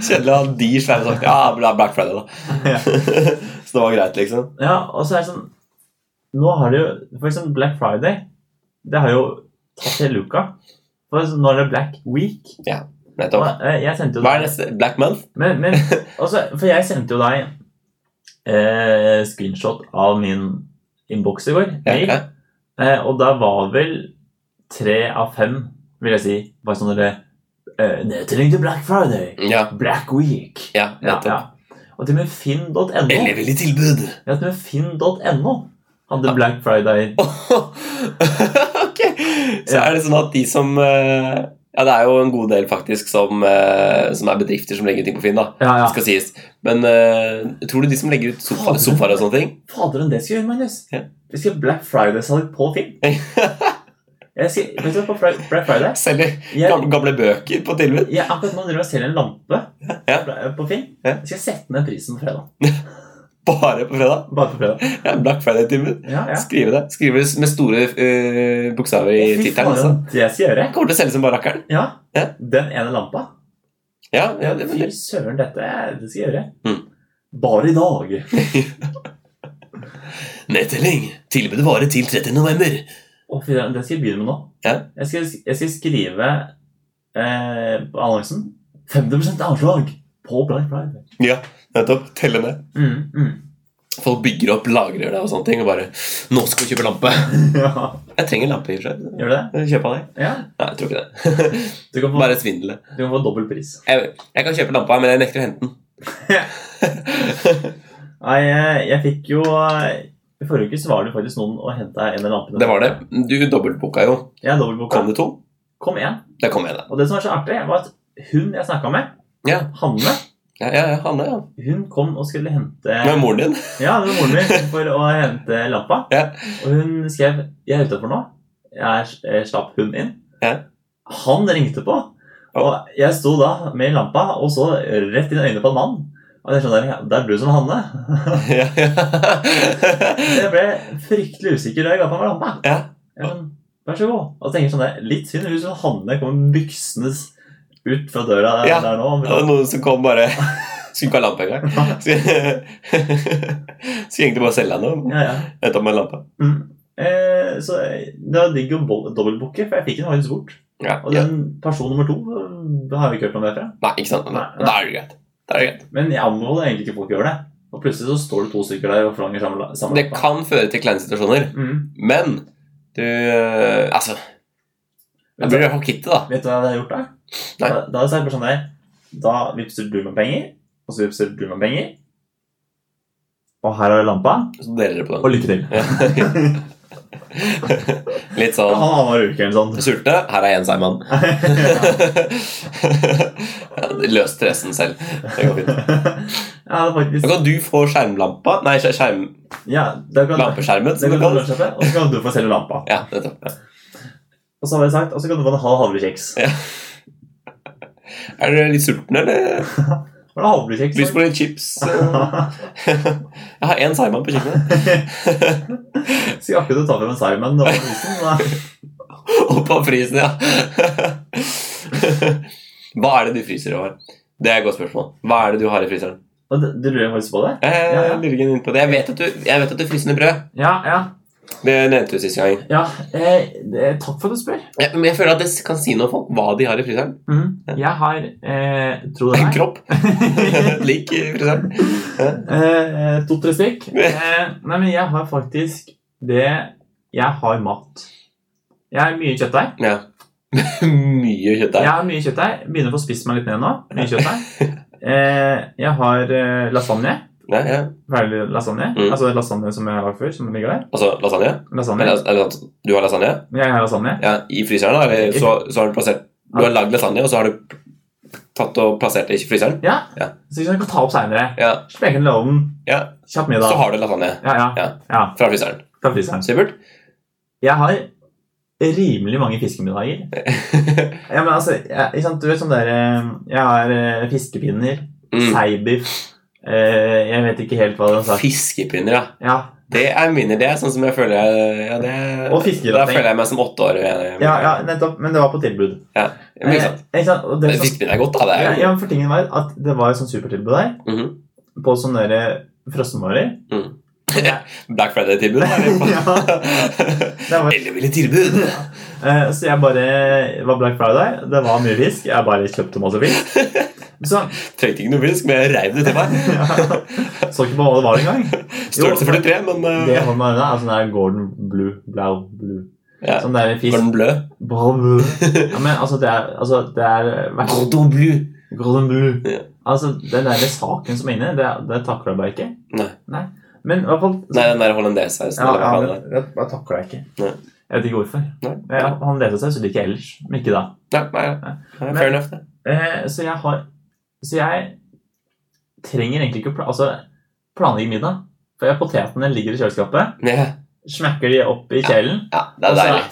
Kjedelig å ha de svære sokkene. Ja, det er Black Friday,
Ja.
da. [laughs] så det var greit, liksom.
Ja, og så er det sånn Nå har det jo For eksempel Black Friday. Det har jo tatt hele uka. For sånn, nå er det Black Week. Og,
Nettopp.
eh, jeg sendte jo
Hva er neste? Black Month?
Men, men altså, For jeg sendte jo deg eh, screenshot av min innboks i går.
Ja,
mail.
ja.
Eh, og der var vel tre av fem, vil jeg si, bare sånn derre eh, Nedtelling til Black Friday.
ja.
Black Week.
ja nettopp.
Og til og med finn.no ja,
Elleville tilbud!
til og med finn.no
Ah.
hadde Black Friday.
[laughs] ok! Så
Ja.
er det sånn at de som eh, Ja, det er jo en god del faktisk som, eh, som er bedrifter som legger ut ting på Finn, da.
Ja, ja.
Skal sies. Men eh, tror du de som legger ut sofa- sofaer og sånne ting
Faderen, det skal vi gjøre, Magnus.
Ja.
Vi skal ha Black Friday-salg på
[laughs]
Finn. Jeg skal, vet du hva, på Fri- Black Friday
Selger
jeg,
gamle, gamle bøker på tilbud?
Jeg akkurat nå driver og selger en lampe på Finn.
Ja.
Jeg skal sette ned prisen på fredag.
Bare på fredag?
Bare på fredag.
Ja, Black Friday-timen.
Ja, ja.
Skrive det. Skrive det med store eh, bokstaver i
Fy
tittelen. Altså.
faen, Det skal jeg gjøre.
Jeg kommer til å selge som bare rakkeren.
Ja.
Ja.
Den ene lampa.
Ja, ja, det,
Fy søren, dette er- det skal jeg gjøre.
Mm.
Bare i dag.
Nedtelling. Tilbudet varer til 30. november.
Å, fy, det det skal jeg begynne med nå.
Ja.
Jeg, skal, jeg skal skrive eh, på annonsen 50 avslag på Black Friday.
Ja, nettopp. Telle ned.
Mm, mm. [laughs]
Folk bygger opp, lagrer det og sånne ting, og bare 'Nå skal vi kjøpe lampe!'
ja.
Jeg trenger lampe, i og for seg.
Gjør du det?
Kjøp av deg.
Ja.
Nei, jeg tror ikke det. [laughs]
Du kan få,
Bare svindle.
du kan få dobbel pris.
Jeg, jeg kan kjøpe lampa, men jeg nekter å hente den.
Nei, jeg, jeg fikk jo eh, I forrige uke så var det faktisk noen og henta en av lampene.
Det var det. Du dobbeltbooka jo.
Jeg dobbeltboka.
Kom det to?
Kom igjen.
Det kom en, da.
Og det som var så artig, var at hun jeg snakka med,
Ja.
Hanne,
Ja, ja, ja, Hanne, ja.
hun kom og skulle hente
Det var moren din. [laughs]
Ja, det var moren min for å hente lappa.
Ja.
Og hun skrev 'Jeg er utafor nå'. Jeg er- eh, slapp hun inn.
Ja.
Han ringte på. Og jeg sto da med lampa og så rett inn i øynene på en mann. Og jeg skjønner, ja, det er du som er Hanne.
Ja, ja.
Jeg ble fryktelig usikker da jeg ga fra meg lampa.
Ja.
Jeg er sånn, Vær så god. Og så tenker jeg sånn, det er litt synd hvis hun Hanne kommer byksende ut fra døra
Ja.
der nå.
[laughs] Det var noen som kom bare [laughs] Skulle ikke ha lampe engang. [laughs] Skulle skulle egentlig bare selge deg noe.
Ja, ja.
Endte opp med en lampe.
Eh, så det var digg å bo- dobbeltbooke, for jeg fikk den faktisk bort.
Ja,
Og
ja.
den person nummer to eh, har vi ikke hørt noe mer fra.
Nei, ikke sant?
Nei, nei.
Da er det greit. Da er det greit.
Men jeg anbefaler egentlig ikke folk å gjøre det. Og plutselig så står det to stykker der og flanger sammen. sammen
Det kan føre til kleine situasjoner,
Mm.
men du eh, Altså, da blir
Vet,
du i
du,
hvert fall kvitt det, da.
vet du hva jeg hadde gjort da?
Nei.
Da, da hadde jeg sagt bare sånn der Da vippser du med penger, og så vippser du med penger. Og her har du lampa,
Så deler dere på den.
og lykke til.
[laughs] Litt
Han
sånn
var uke eller sånn.
sulte. Her er en seig
[laughs]
mann. Ja, Løs stressen selv. Det går fint.
ja, det er
Da
faktisk
kan du få skjermlampa Nei, skjer- skjerm,
Ja, da kan, da kan
lampeskjermen.
du
Som det kalles.
kjøpe, og så kan du få selge lampa.
Ja, nettopp. Ja.
Og så hadde jeg sagt, og så kan du få en halv havrekjeks.
Er du litt sulten, eller?
Var det havrekjeks?
Lyst på litt chips?
[laughs]
eh. Jeg har én seigmann på kjøkkenet.
Skal akkurat du ta frem en Simon og prisen, da.
[laughs] Og på frysen, ja. [laughs] Hva er det du fryser over? Det er et godt spørsmål. Hva er det du har i fryseren?
Og Du du lurer faktisk på det?
Eh,
Ja, ja.
Jeg lurer ikke inn på det. Jeg vet at du, jeg vet at du fryser ned brød.
Ja, ja.
Det nevnte du sist gang.
ja eh, det- takk for at du spør.
Ja, men jeg føler at det kan si noe om folk hva de har i fryseren.
Mm. Jeg har eh, Tro det
En
eller ei,
[laughs] kropp. Et lik i fryseren. [laughs]
eh, to-tre stykk. Eh, nei, men jeg har faktisk det Jeg har mat. Jeg har mye kjøttdeig.
Ja. Mye kjøttdeig.
Jeg har mye kjøttdeig. Begynner å få spist meg litt ned nå. Mye kjøttdeig. Eh, jeg har eh, lasagne.
Ja, ja.
Ferdig lasagne.
Mm.
Altså lasagne som jeg har før, som ligger der.
Altså lasagne?
Lasagne.
Eller, eller, at du har lasagne?
Jeg har lasagne.
Ja, I fryseren? da, Eller så, så har du plassert Du har lagd lasagne, og så har du tatt og plassert det i fryseren?
Så jeg kan ta opp seinere.
Ja.
Sprenge den i ovnen.
Ja.
Kjapp
Så
middag.
har du lasagne
Ja, ja.
Ja.
ja.
fra fryseren.
Fra fryseren.
Supert. [laughs]
Jeg har rimelig mange fiskemiddager. ja, men altså, jeg, ikke sant, du vet sånn der eh, Jeg har eh, fiskepinner,
Mm.
seibiff eh, Jeg vet ikke helt hva den sa.
Fiskepinner, ja.
Ja,
Det er minner, det. er Sånn som jeg føler jeg ja, det,
Og
Da
fiskelating.
føler jeg meg som åtte år. eh, igjen.
ja, ja, nettopp. Men det var på tilbud.
Men ikke sant?
Eh, ikke sant, og det,
Men
som-
Fiskepinner er godt, da. Det
ja,
er jo
ja, for tingen var at det var et sånt supertilbud der
Mhm.
på sånne der eh,
[laughs]
frossenvarer.
Black Friday-tilbud.
Det var-
Elleville tilbud!
eh, Så jeg bare det var Black Friday. Det var mye fisk. Jeg bare kjøpte masse fisk. Så
Trengte ikke noe fisk, men jeg reiv det til meg.
så ikke på hva det var engang.
Størrelse 43, men eh,
Det holder meg unna. er sånn der Gordon Blue, Blau, Blue.
Ja.
Sånn der
var
fisk
den blød?
Blau, Blue. [laughs] Ja, men altså, det er, altså, det er vær-
Cordon bleu.
Gordon Blue.
Ja.
Altså, den der saken som er inne, det, det takler jeg bare ikke.
Nei.
Men i hvert fall
Nei, den der hollandaisesausen.
ja,
eller hva
ja,
faen det er.
det- det bare takler jeg ikke.
Nei.
Jeg vet ikke hvorfor.
Nei.
Jeg, han leser seg, så liker jeg ellers, men ikke da.
Nei, nei, nei. Fair enough, det.
Eh, så jeg har Så jeg trenger egentlig ikke å pla altså, planlegge middag. For jeg- potetene ligger i kjøleskapet,
Ja,
smekker de opp i kjelen,
ja, det er
Og så-
deilig.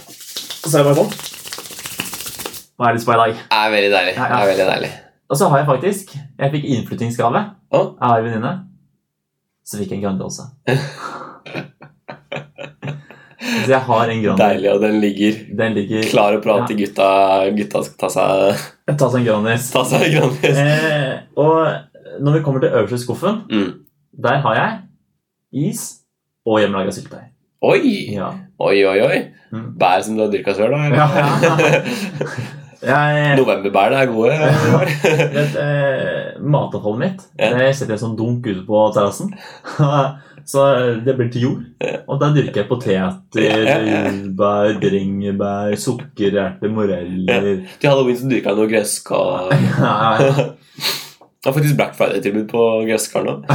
Og så er det bare sånn. Hva er det som er i dag?
Det er veldig deilig.
Ja,
Det
ja.
er veldig deilig.
Og så har jeg faktisk Jeg fikk innflyttingsgave
Å?
av ei venninne. Så fikk jeg en Grandiosa. så jeg har en Grandi.
Deilig, og den ligger
Den ligger
klar og prat til gutta. Gutta skal ta seg,
Ta seg en Grandis.
ta seg Grandis.
Eh, og når vi kommer til øverste skuffen,
Mm.
der har jeg is og hjemmelaga syltetøy.
Oi!
Ja.
Oi, oi, oi.
Mm.
Bær som du har dyrka sjøl, da? eller?
Ja,
[laughs]
ja. Jeg,
Novemberbærene er gode.
jeg vet, eh, matavfallet mitt
Ja.
det setter jeg som dunk ute på terrassen. [laughs] Så eh, det blir til jord. Og der dyrker jeg poteter,
Ja, ja, ja.
jordbær, bringebær, sukkererter, moreller
[laughs] Til halloween så dyrka jeg noe gresskar.
ja.
[laughs] Jeg har faktisk Black Friday-tilbud på gresskar nå.
[laughs]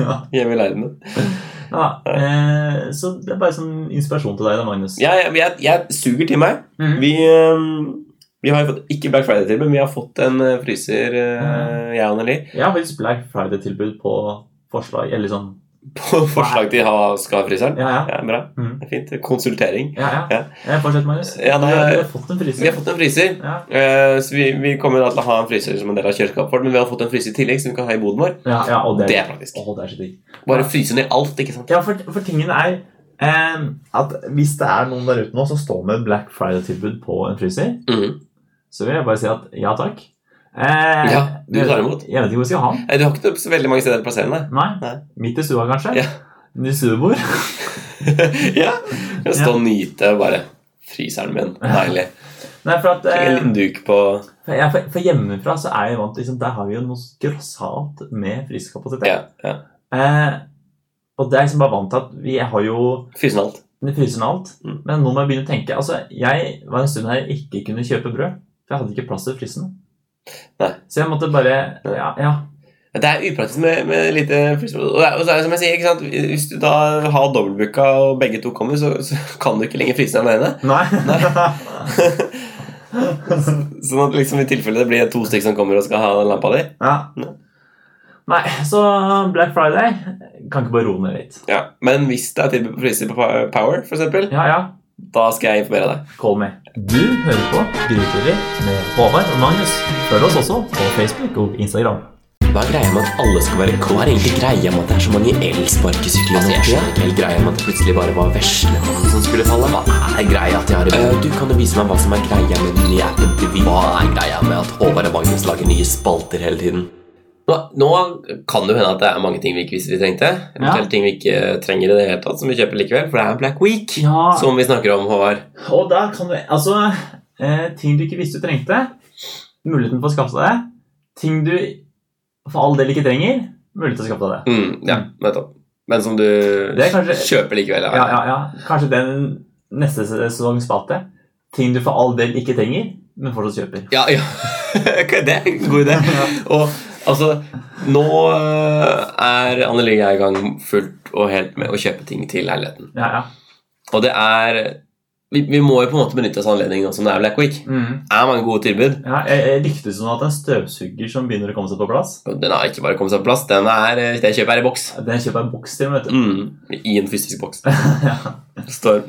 ja.
Hjemme i leiligheten min.
eh, Så det er bare sånn inspirasjon til deg da, Magnus.
Jeg, jeg, jeg, jeg suger til meg.
Mhm.
Vi, øhm, vi har jo fått ikke Black Friday-tilbud, men vi har fått en øh, fryser, øh, jeg og Anneli,
Jeg har faktisk Black Friday-tilbud på forslag. Eller sånn
på forslag til hva skal ha fryseren.
Ja, ja.
Ja, Mm. bra.
Mhm.
Fint. Konsultering.
ja, ja.
Ja.
Jeg fortsetter, Magnus.
Ja, nei,
du, har,
jeg-
du har fått en fryser.
Vi har fått en fryser.
ja.
Eh, Så vi, vi kommer da til å ha en fryser som en del av kjøleskapet vårt, men vi har fått en fryser i tillegg som vi kan ha i boden vår.
Ja, ja, og det,
Det er praktisk.
Å, det er så digg.
Bare fryse ned alt, ikke sant?
Ja, for, for tingen er eh, at hvis det er noen der ute nå som står med Black Friday-tilbud på en fryser,
Mhm.
så vil jeg bare si at ja takk. Eh,
Ja, du tar imot.
Jeg vet ikke hvor jeg skal ha den.
Nei, Du har ikke så veldig mange steder å plassere den.
Nei,
Nei. [laughs]
Midt i stua, kanskje?
Ja.
I stuebord? [laughs]
da. ja. Stå og nyte og bare Fryseren min. Deilig.
Nei, for at
En
eh,
liten duk på
for, ja, for, for hjemmefra så er jeg vant liksom, Der har vi jo noe grassat med frysekapasitet.
Ja. ja.
Eh, og det er jeg liksom bare vant til at vi har jo
Fryse ned alt.
Det fryser ned alt.
Mm.
Men nå må jeg begynne å tenke. Altså, jeg var en stund her jeg ikke kunne kjøpe brød. For jeg hadde ikke plass til frysen.
Nei.
Så jeg måtte bare Ja. ja.
Det er upraktisk med, med lite frysebrød. Og, det er- og så er det som jeg sier, ikke sant? hvis du da har dobbeltbooka og begge to kommer, så, så kan du ikke lenger fryse ned den ene.
Nei.
Sånn at liksom i tilfelle det blir to stykk som kommer og skal ha den lampa di.
[laughs] ja.
Nei.
Nei, så Black Friday kan ikke bare roe ned litt.
Ja. Men hvis det er tilbud på fryser på Pa- Power, for eksempel,
Ja, ja.
da skal jeg informere deg.
Call me.
Du hører på Grytidlig med Håvard og Magnus. Følg oss også på Facebook og Instagram.
Hva er greia med at alle skal være coach? Hva er egentlig greia med at det er så mange elsparkesykler? Altså, jeg skjønner ikke helt greia med at det plutselig bare var veslemannen som skulle falle. Hva er greia at de har Eh, Du kan jo vise meg hva som er greia med den nye appen til Vy. Hva er greia med at Håvard og Magnus lager nye spalter hele tiden?
Nå, nå kan det jo hende at det er mange ting vi ikke visste vi trengte. Eventuelt ting vi ikke trenger i det hele tatt, som vi kjøper likevel, for det er Black Week.
Ja.
Som vi snakker om, Håvard.
Og da kan du Altså, eh, ting du ikke visste du trengte. Muligheten for å skaffe deg det. Ting du for all del ikke trenger. Mulighet til å skaffe deg det.
Mm, ja, nettopp. Men som du
Det er kanskje-
kjøper likevel.
Ja, ja, ja. Kanskje den neste sesongs spalte. Ting du for all del ikke trenger, men fortsatt kjøper.
Ja, ja. [laughs] Ok, det er en
[laughs]
god idé. Og altså, nå eh, er Anneli og jeg i gang fullt og helt med å kjøpe ting til leiligheten.
Ja, ja.
Og det er Vi, vi må jo på en måte benytte oss av anledningen nå som det er Black Week.
Mm.
Det er mange gode tilbud.
ja jeg, jeg likte sånn at en støvsuger som begynner å komme seg på plass,
Og Den har ikke bare kommet seg på plass, den er, eh, det kjøpet er i boks.
den kjøper jeg en boks til, vet du.
Mm, I en fysisk
[laughs]
boks. Står,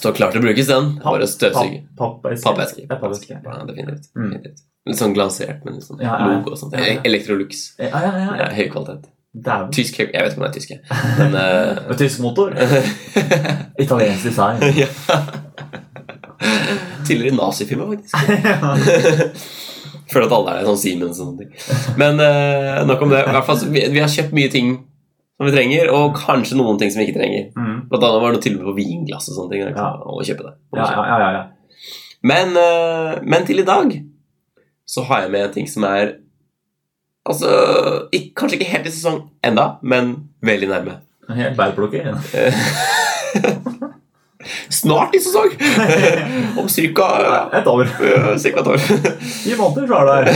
står klar til å brukes, den. Bare støvsuger.
Papp- Pappeske.
Pappeske.
Ja, pappeske.
Ja, definitivt.
Mm.
definitivt. Litt sånn glasert med litt sånn
Ja, ja, ja.
logo og sånt. E-,
Ja, ja.
Electrolux.
Ja, ja, ja.
Det
ja.
er høy kvalitet.
Dæven.
Tysk Jeg vet ikke om det er tysk, jeg. Men eh, [laughs]
Og Tysk motor. Italiensk design.
[laughs] ja. Tidligere nazifilmer, faktisk.
[laughs] Ja.
[laughs] Føler at alle er sånn Siemens og sånne ting. Men eh, nok om det. I hvert fall, så vi, vi har kjøpt mye ting som vi trenger, og kanskje noen ting som vi ikke trenger.
Mm.
Blant annet var det noe tilbud på vinglass og sånne ting. ikke sant? Å kjøpe det.
Ja, ja, ja, ja, ja.
Men, eh, men til i dag så har jeg med en ting som er Altså, ikke, kanskje ikke helt i sesong enda, men veldig nærme.
Helt bærplukker.
Eh, [laughs] Snart i
[laughs]
sesong! Om cirka
Et år.
Øh, Cirka et år. [laughs]
Ti måneder, så er det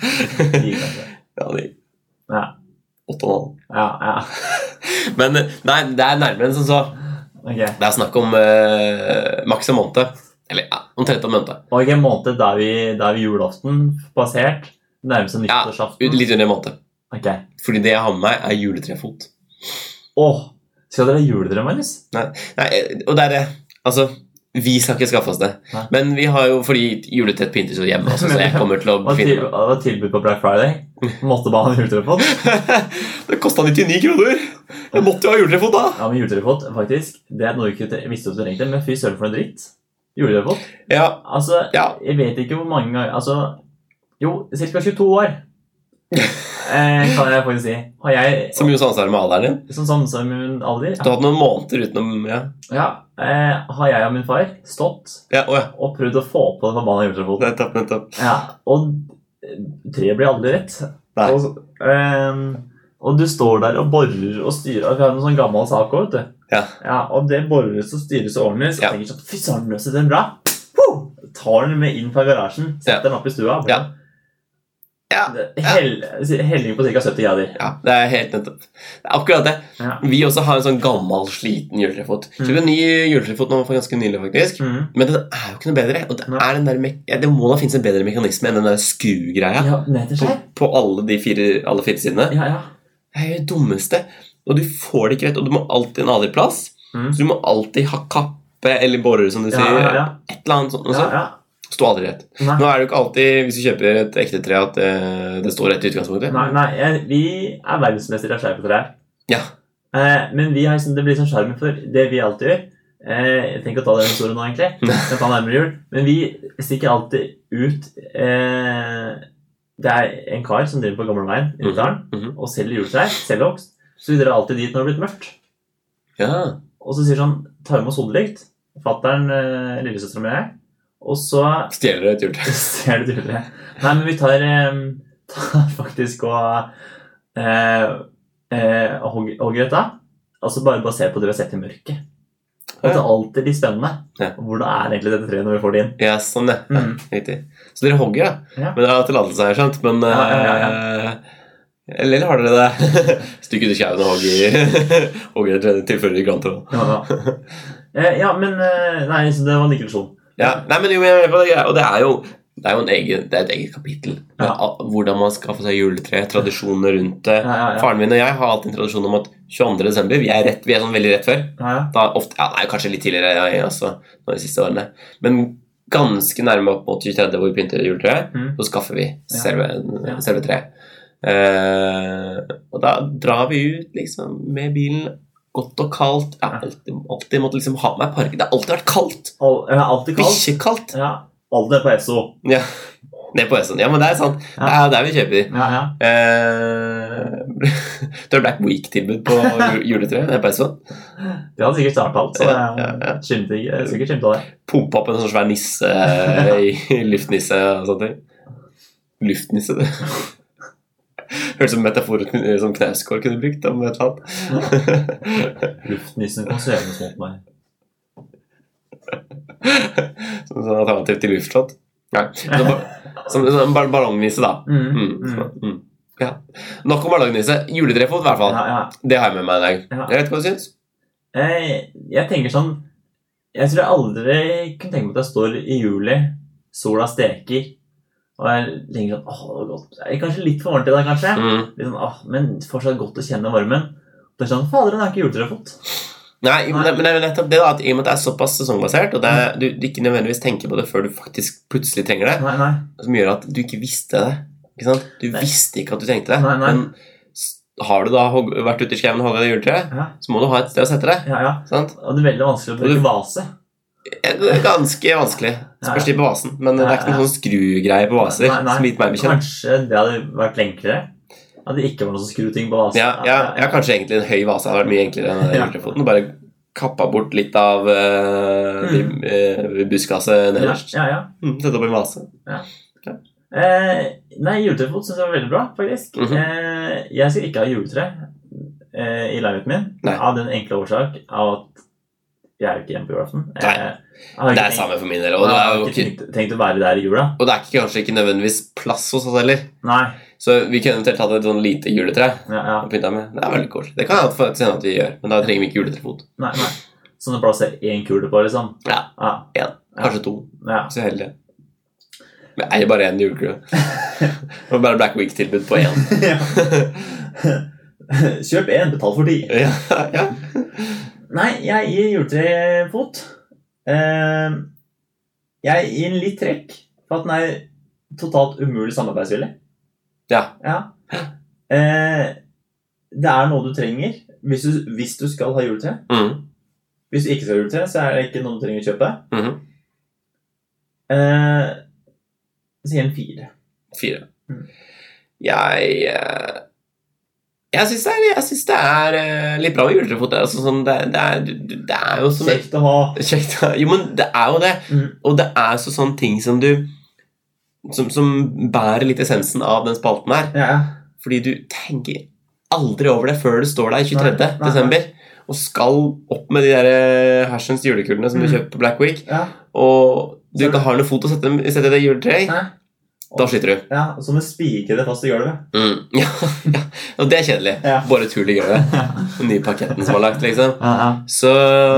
her.
[laughs] ja, de,
Ja.
åtte og en halv.
Ja, ja.
Men øh, nei, det er nærmere enn som så.
Ok.
Det er snakk om øh, maks en måned. Eller ja, omtrent en måned.
Og en måned der vi, der vi julaften passert, nærmest en
Ja,
nyttårsaften.
ut- Litt under en måned.
Ok.
Fordi det jeg har med meg, er juletrefot.
Åh, skal dere ha juletre, Magnus?
Nei, øh, og det er det. Altså, vi skal ikke skaffe oss det.
Nei.
Men vi har jo fordi juletrett pyntes jo hjemme, også, så jeg kommer til å
Og til,
befinne meg
og tilbud på Black Friday. Måtte bare ha en juletrefot.
[laughs] Det kosta 99 kroner! Jeg måtte jo ha juletrefot da!
Ja, men juletrefot, faktisk, det er noe du ikke visste at du trengte, men fy søren for noe dritt. Juletrefot.
Ja,
Altså,
ja. [laughs]
jeg vet ikke hvor mange ganger Altså, jo, ca. 22 år eh, kan jeg faktisk si. Har jeg,
Så mye samsvar med alderen din.
som sånn som min alder,
Du har hatt noen måneder utenom Ja,
ja, eh, har jeg og min far stått
ja å ja.
og prøvd å få på den forbanna
[laughs]
juletrefoten.
Nettopp, nettopp.
Ja, og treet blir aldri rett.
Nei.
Og, ehm, og du står der og borer og styrer. Vi har en sånn gammel sak også, vet du.
Ja.
og det bores og styres og ordnes. Så
Ja.
tenker jeg sånn, fy søren, løser den bra? Woo! Tar den med inn fra garasjen, setter den opp i stua.
Ja. Ja.
Det- Hell, helling på ca. 70 grader.
Ja, det er helt nettopp. Det er akkurat det.
Ja.
Vi også har en sånn gammel, sliten juletrefot.
Mm.
Kjøpte en ny juletrefot nå for ganske nylig, faktisk.
Mm.
Men den er jo ikke noe bedre. Og det,
Nei.
er den der me- ja, det må da finnes en bedre mekanisme enn den der skrugreia
Ja, ned til
på,
skjær.
på alle de fire, alle fire sidene.
Ja, ja.
Det er jo det dummeste. Og du får det ikke rett, og du må alltid en annen plass.
Mm.
Så du må alltid ha kappe eller borer, som du
Ja,
sier.
ja, ja.
Et eller annet sånt. og
ja,
så
ja.
Stå aldri rett. Nå
Nei,
er det jo ikke alltid, hvis du kjøper et ekte tre, at eh, det står rett i utgangspunktet.
nei, nei jeg, vi er verdensmestere av skjærpetrær.
Ja.
Eh, men vi har, liksom- det blir sånn sjarmen for det vi alltid gjør. Eh, jeg tenker å ta den historien nå,
[laughs]
egentlig. Jeg kan ta nærmere jul. Men vi stikker alltid ut eh, Det er en kar som driver på gamleveien i Nittedalen
Mhm.
og selger juletrær. Selvhogst. Så vi drar alltid dit når det blir mørkt.
Ja.
Og så sier sånn Ta med oss hodelykt. Fattern, eh, lillesøstera mi og jeg. Og så
Stjeler du et
[laughs]
juletre?
Ser du det? Nei, men vi tar, em, tar faktisk og eh, eh, hogg- hogger dette. Altså bare basert på det vi har sett i mørket. Og det er alltid litt spennende.
Ja.
Hvordan er egentlig dette treet når vi får det inn?
Ja, sånn, ja. ja.
Mm.
Riktig. Så dere hogger, da.
Ja.
Men dere har tillatelse, har jeg skjønt. Men
Ja, ja, ja,
eh, Eller har dere det? [laughs] Stikker ut i skauen og [laughs] hogger Hogger dere tilfører i grantråd.
Ja, ja. Eh, ja, men eh, Nei, så det var en digresjon.
Ja. Nei, men jo, jeg er med på det. Og det er jo det er jo en egen, det er et eget kapittel. Men
Ja.
a- Hvordan man skaffer seg juletre, tradisjoner rundt det.
Ja, ja, ja.
Faren min og jeg har alltid en tradisjon om at 22. desember, vi er, rett, vi er sånn veldig rett før.
Ja, ja.
Da ofte, ja, nei, kanskje litt tidligere ja, ja, også, nå de siste årene. Men ganske nærme opp mot 23. hvor vi pynter juletreet,
Mm.
så skaffer vi
Ja.
selve,
Ja.
selve treet. Eh, og da drar vi ut liksom med bilen, godt og kaldt. Jeg har alltid, alltid måtte liksom ha med meg park. Det har alltid vært kaldt.
Al- Jeg har alltid kalt
Bikkjekaldt.
ja. Alt er på SO.
Ja. Ned på Øsson. Ja, men det er sant. Det er der vi kjøper.
Ja, ja.
Eh, [laughs] du har Black Week-tilbud på ju- juletreet nede på Øsson.
Det hadde sikkert starta alt. Så
Ja,
jeg
ja, ja.
skimte- jeg er sikkert skimta det.
pumpe opp en sånn svær nisse eh, i [laughs] luftnisse og sånne ting. Luftnisse, det. [laughs] Høres ut som metaforen som Knausgård kunne brukt om et eller annet. [laughs]
Luftnissen kom svevende mot meg.
Som sånn alternativ til luftslott. Nei. Som, ba- som, som ball- ballongnisse, da.
Mm.
Mm.
Mm.
Mm. Ja. Nok om ballongnisse. Juletrefot, i hvert fall.
Ja, ja.
Det har jeg med meg i dag.
Ja.
Jeg vet ikke hva du syns.
Jeg, jeg tenker sånn Jeg tror jeg aldri kunne tenke meg at jeg står i juli, sola steker, og jeg tenker sånn Åh, det var godt. Det er Kanskje litt for varmt i dag, kanskje.
Mm.
Litt sånn, åh, men fortsatt godt å kjenne varmen. Og det er sånn Fader, den har ikke juletrefot.
Nei, men det- men det er jo nettopp det da, at i og med at det er såpass sesongbasert, og det er, du, du ikke nødvendigvis tenker på det før du faktisk plutselig trenger det,
Nei, nei.
som gjør at du ikke visste det. Ikke sant? Du
Nei.
visste ikke at du tenkte det.
Nei, nei.
Men s- har du da hogg, vært ute i skauen og hogga det juletreet,
Ja.
så må du ha et sted å sette det.
Ja, ja.
Sant?
Og det er veldig vanskelig å bruke vase.
Ja, Det er ganske vanskelig. Spørs litt på vasen. Men det
Ja,
er ikke
ja.
noen sånn skrugreie på vaser.
Nei, nei.
Som gitt meg bekjent.
Kanskje det hadde vært enklere? At det ikke var noen som skrur ting på vase.
Ja, ja, ja, kanskje egentlig en høy vase hadde vært mye enklere enn den
Ja.
juletrefoten. Bare kappa bort litt av eh,
Mm.
eh, buskaset
ja,
nederst.
ja, ja.
Mm, Sette opp en vase.
Eh, nei, juletrefot syns jeg var veldig bra, faktisk.
Mhm.
eh, jeg skal ikke ha juletre eh, i leiligheten min
Nei.
av den enkle årsak av at jeg er jo ikke hjemme på julaften. Eh,
Nei.
jeg har
Det
ikke
er
tenkt-
samme for min del. Og
Jeg
det er
har
jo
ikke
ikke,
tenkt, tenkt å være der i jula.
og det er ikke, kanskje ikke nødvendigvis plass hos oss heller.
Nei.
Så vi kunne eventuelt hatt et sånn lite juletre.
Ja, ja.
å pynte med. Det er veldig koselig. Det kan jeg faktisk hende at vi gjør, men da trenger vi ikke juletrefot.
nei, nei. Sånn Sånne plasser én kule på, liksom.
Ja.
ja.
Kanskje to, [laughs]
ja.
hvis vi er heldige. Men jeg eier bare én [laughs] julekule. Det var bare Black Week-tilbud på én.
Kjøp én, betal for ti.
[laughs] Ja, ja.
Nei, jeg gir juletrefot. Eh, jeg gir den litt trekk, for at den er totalt umulig samarbeidsvillig.
Ja.
Eh, det er noe du trenger hvis du, hvis du skal ha juletre.
Mm.
Hvis du ikke skal ha juletre, så er det ikke noe du trenger å kjøpe.
Mhm.
Eh, så gir jeg en fire.
Fire. Jeg eh, Jeg syns det er, jeg synes det er eh, litt bra med juletrefot. Det, er altså sånn, det, det, er, det er jo som
Kjekt å ha.
Kjekt. Jo, men det er jo det.
Mm.
Og det er så sånne ting som du som, som bærer litt essensen av den spalten her.
Ja, ja.
Fordi du tenker aldri over det før du står der 23.
Nei, nei, nei.
desember og skal opp med de der eh, hersens julekulene som du
Mm.
kjøpte på Black Week,
ja.
og du
Så-
ikke har noe fot å sette, sette det i juletreet i,
Hæ?
da sliter du.
Ja, og så må du spikre det fast i gulvet.
Mm. [laughs] Ja, ja. Og det er kjedelig.
Ja.
Bare tull i gulvet. Den nye paketten som er lagt, liksom.
Ja, ja.
Så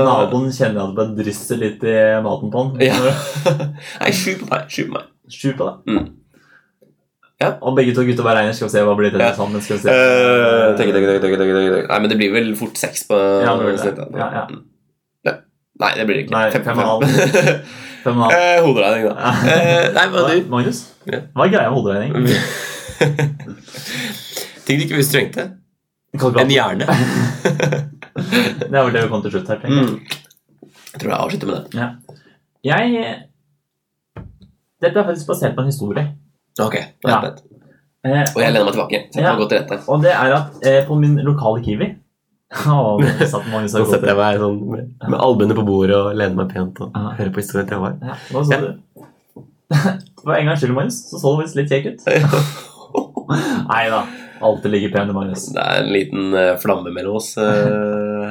Naboen kjenner at det bare drysser litt i maten på han.
Ja. Nei, sju på meg. Sju på meg.
Sju på det.
Mm. Ja.
Og begge to gutta beregner. Skal vi se hva blir denne
Ja.
sammen? Skal vi se.
Eh, tenk, tenk, tenk, tenk, tenk, tenk. Nei, men det blir vel fort seks på
Ja, det blir det. Ja, ja.
Ja. Nei, det blir det ikke.
Nei,
Fem på
fem og
fem. [laughs]
Fem og en halv.
Eh, Hoderegning, da. Eh, nei, hva du?
Magnus,
Ja.
hva er greia med hoderegning?
[laughs] Ting du ikke visste du trengte.
Kan
En
ikke ha-
hjerne.
Det er vel det vi kom til slutt her. tenker jeg.
Mm. Jeg tror jeg avslutter med det.
Jeg Dette er faktisk basert på en historie.
Ok, nå er jeg
Ja.
spent.
Eh,
Og jeg lener meg tilbake. Så jeg
Ja.
kan gå til rette.
og det er at eh, på min lokale Kiwi [laughs] Å, nå satt Magnus her godt.
meg sånn med, albuene på bordet og lener meg pent og
Ja.
hører på historien til [laughs] Håvard.
Ja, nå så du. [laughs] For en gangs skyld, Magnus, så så du faktisk litt kjekk ut. Nei da. Alltid ligger pen i Magnus.
Det er en liten eh, flamme mellom oss eh,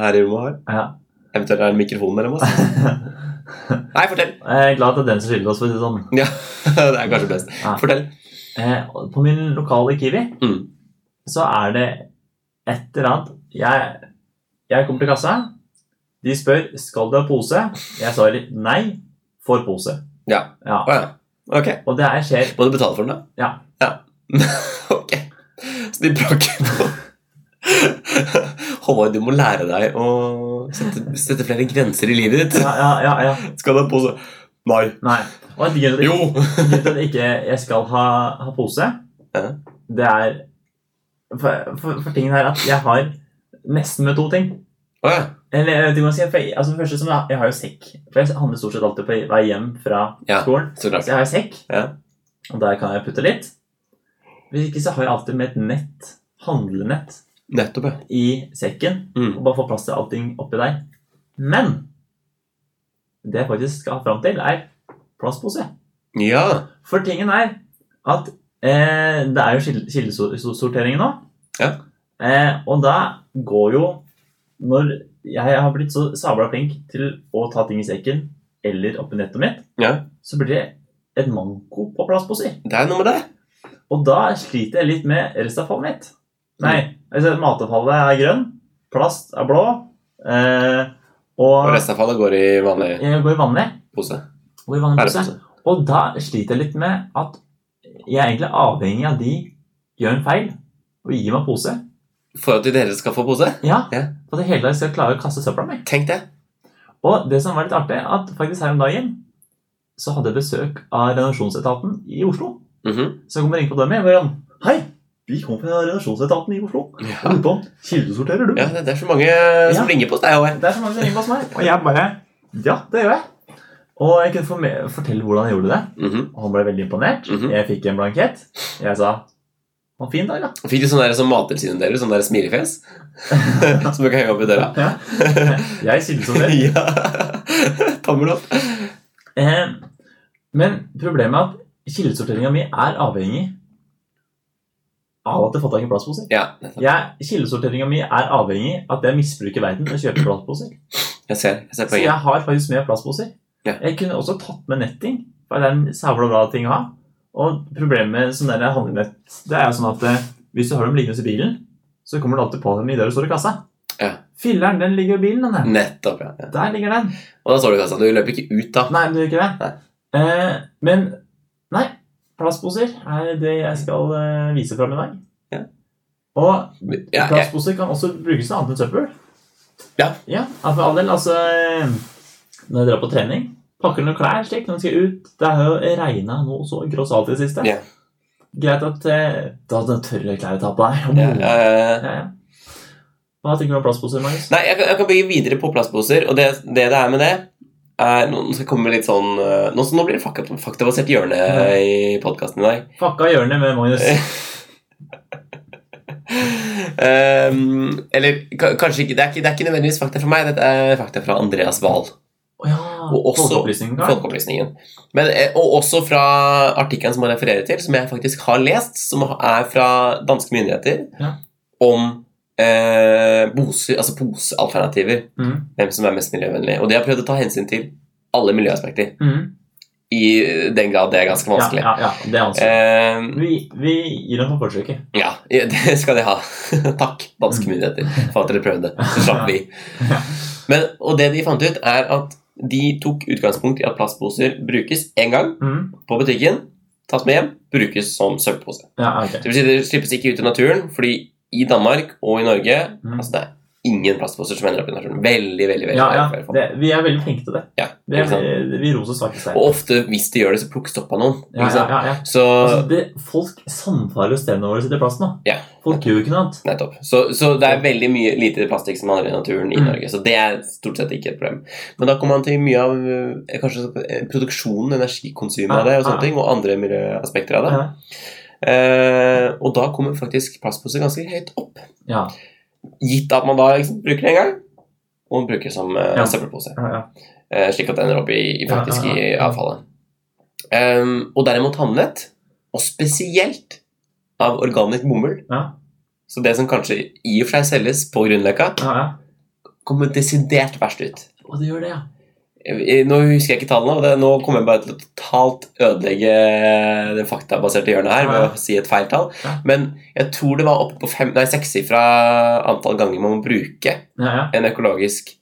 her i rommet. her.
Ja.
Eventuelt er det en mikrofon mellom
[laughs]
oss. Nei, fortell!
Jeg er glad at det er den som skiller oss, for å si det sånn.
Ja, [laughs] det er kanskje best.
Ja.
Fortell.
Eh, og på min lokale Kiwi
Mm.
så er det et eller annet Jeg, jeg kommer til kassa. De spør skal du ha pose. Jeg svarer nei. Får pose.
Ja.
ja.
Å ja. Ok.
Og det her skjer
Må du betale for den, da?
Ja.
[laughs] ok. Så de bråker på [laughs] Håvard, du må lære deg å sette, sette flere grenser i livet ditt.
Ja, ja, ja. ja.
Skal du ha pose? Nei.
Nei. Og en grunn til at
Jo!
grunnen til at ikke jeg skal ha, ha pose,
Ja.
det er for, for, for tingen er at jeg har nesten med to ting.
Å ja.
Eller jeg vet ikke hva jeg skal si, for jeg, altså for det første som jeg, jeg har jo sekk. For jeg handler stort sett alltid på vei hjem fra
Ja.
skolen.
Så klart.
Så jeg har jo sekk,
Ja.
og der kan jeg putte litt. Hvis ikke så har jeg alltid med et nett, handlenett,
Nettopp, ja.
i sekken.
Mm.
Og bare få plass til allting oppi der. Men det jeg faktisk skal fram til, er plastpose.
Ja.
For tingen er at eh, det er jo skil- kildesortering nå.
Ja.
Eh, og da går jo Når jeg har blitt så sabla flink til å ta ting i sekken eller oppi nettet mitt,
Ja.
så blir det et manko på plastposer.
Det er noe med det.
Og da sliter jeg litt med restavfallet mitt. Nei,
Mm.
altså matavfallet er grønn, plast er blå, eh,
Og
og
restavfallet går i vanlig
jeg går i vanlig.
pose.
Går i vanlig pose.
Bærepose.
Og da sliter jeg litt med at jeg er egentlig avhengig av de gjør en feil og gir meg pose.
For at dere skal få pose?
Ja,
Ja.
For at jeg hele tiden skal klare å kaste søpla mi.
Tenk det.
Og det som var litt artig, at faktisk her om dagen så hadde jeg besøk av renovasjonsetaten i Oslo.
Mhm.
Så jeg kommer inn på dem og bare sånn, Hei! Vi kommer fra renovasjonsetaten i Oslo. Og
ja.
lurer på kildesorterer du?
ja, det det er så mange som ringer på hos deg, Håvard.
Det er så mange som ringer på hos meg. Og jeg bare Ja, det gjør jeg. Og jeg kunne forme- fortelle hvordan jeg gjorde det.
Mhm.
Og han ble veldig imponert.
Mhm.
Jeg fikk en blankett. Jeg sa Ha en fin dag, da.
Fikk du sånn der som Mattilsynet deler, sånn der smilefjes? [laughs] som du kan henge opp i døra? [laughs]
Ja. Jeg kilder som det.
ja. [laughs] Tommel opp.
Eh, Men problemet er at kildesorteringa mi er avhengig av at jeg får tak i plastposer.
Ja, nettopp.
Jeg- Kildesorteringa mi er avhengig av at jeg misbruker verden og kjøper plastposer.
Jeg ser, jeg ser
Så
poenget.
jeg har faktisk med plastposer.
Ja.
Jeg kunne også tatt med netting, for det er en sabla bra ting å ha. Og problemet med sånne der handlenett Det er jo sånn at eh, hvis du har dem liggende i bilen, så kommer du alltid på dem idet du står i kassa.
Ja.
Filleren, den ligger i bilen, den der.
Nettopp, ja. ja.
Der ligger den.
Og da står du i kassa. Du løper ikke ut, da.
Nei, men det gjør ikke det. Eh, men nei, plastposer er det jeg skal eh, vise fram i dag.
Ja.
Og
Ja, jeg,
plastposer kan også brukes til annet enn søppel.
Ja.
ja. ja, For all del, altså eh, Når jeg drar på trening, pakker noen klær slik når jeg skal ut. Det har jo regna noe så grossalt i det siste.
Ja.
Greit at eh, da hadde jeg tørre klær å ta på deg.
ja, ja, ja.
Ja, ja. Hva tenker du om plastposer, Magnus?
Nei, jeg kan, jeg kan bygge videre på plastposer, og det det, det er med det er, nå nå skal jeg komme med litt sånn eh, Nå, nå blir det fakta- faktabasert hjørne
Ja.
i podkasten i dag. Eh,
Pakka hjørnet med Magnus.
Ehm, eller ka- kanskje ikke det, er ikke. det er ikke nødvendigvis fakta fra meg, dette er fakta fra Andreas Wahl.
Å ja,
Og også-
Folkeopplysningen, da.
Folkeopplysningen. Men, eh, og også fra artikkelen som han refererer til, som jeg faktisk har lest, som er fra danske myndigheter,
Ja.
om eh, bose, altså posealternativer.
Mhm.
Hvem som er mest miljøvennlig. Og de har prøvd å ta hensyn til alle miljøaspekter.
Mhm.
I den grad det er ganske
Ja,
vanskelig.
ja, ja, det er vanskelig.
Eh,
Vi, vi gir dem for forsøket.
ja, [laughs] det skal de ha. [laughs] Takk, danske
Mm.
myndigheter, for at dere
[laughs]
prøvde. Så slapp vi. Men, og det de fant ut, er at de tok utgangspunkt i at plastposer brukes én gang
Mhm.
på butikken, tas med hjem, brukes som søppelpose.
Ja, ok.
Det vil si det slippes ikke ut i naturen, fordi i Danmark og i Norge
Mhm.
altså det er ingen plastposer som ender opp i naturen. Veldig, veldig, veldig
Ja, ja,
veldig få.
det, vi er veldig flinke til det.
Ja,
det
ikke sant?
vi, vi roser svake stein.
Og ofte, hvis de gjør det, så plukkes det opp av noen. Ikke
Ja, ja,
sant?
ja, ja.
Så,
Altså, det, folk samfarer jo stedene våre sitt i plasten. da.
Ja.
Folk gjør jo ikke noe annet.
nettopp. Så, så det er veldig mye lite plastikk som handler i naturen i
Mhm.
Norge. Så det er stort sett ikke et problem. Men da kommer man til mye av eh, kanskje eh, produksjonen, energikonsumet av det, og
Ja,
sånne
ja.
ting, og andre miljøaspekter av det.
Ja.
Eh, og da kommer faktisk plastposer ganske høyt opp.
Ja,
Gitt at man da ikke sant, bruker det en gang, og bruker det som eh,
Ja.
søppelpose.
ja, ja.
Eh, slik at det ender opp i, i faktisk
Ja, ja, ja.
i avfallet. Ehm, og derimot handlet, og spesielt av organisk bomull
Ja.
Så det som kanskje i og for seg selges på Grünerløkka,
ja, ja.
kommer desidert verst ut.
Og det gjør det, ja.
Eh, Nå husker jeg ikke tallene, og det, nå kommer jeg bare til å totalt ødelegge det faktabaserte hjørnet her ved
Ja.
å si et feil tall.
Ja.
Men jeg tror det var oppe på fem, nei, sekssifra antall ganger man må bruke
ja, ja.
en økologisk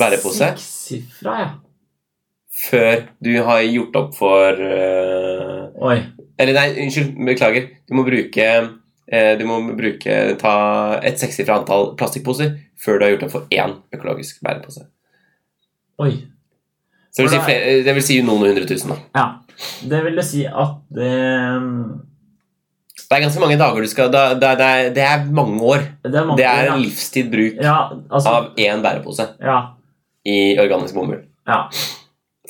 bærepose
Sekssifra, ja.
før du har gjort opp for eh,
Oi.
Eller nei, unnskyld, beklager. Du må bruke eh, du må bruke, ta et sekssifra antall plastikkposer før du har gjort opp for én økologisk bærepose.
Oi.
Så det vil si,
For det
flere, det vil si noen hundre tusen. da.
Ja. Det vil jo si at eh,
Det er ganske mange dager du skal Det, det, det, er, det er mange år.
Det er, mange,
Det er
ja.
en livstid bruk
ja, altså,
av én bærepose
ja,
i organisk bomull.
Ja.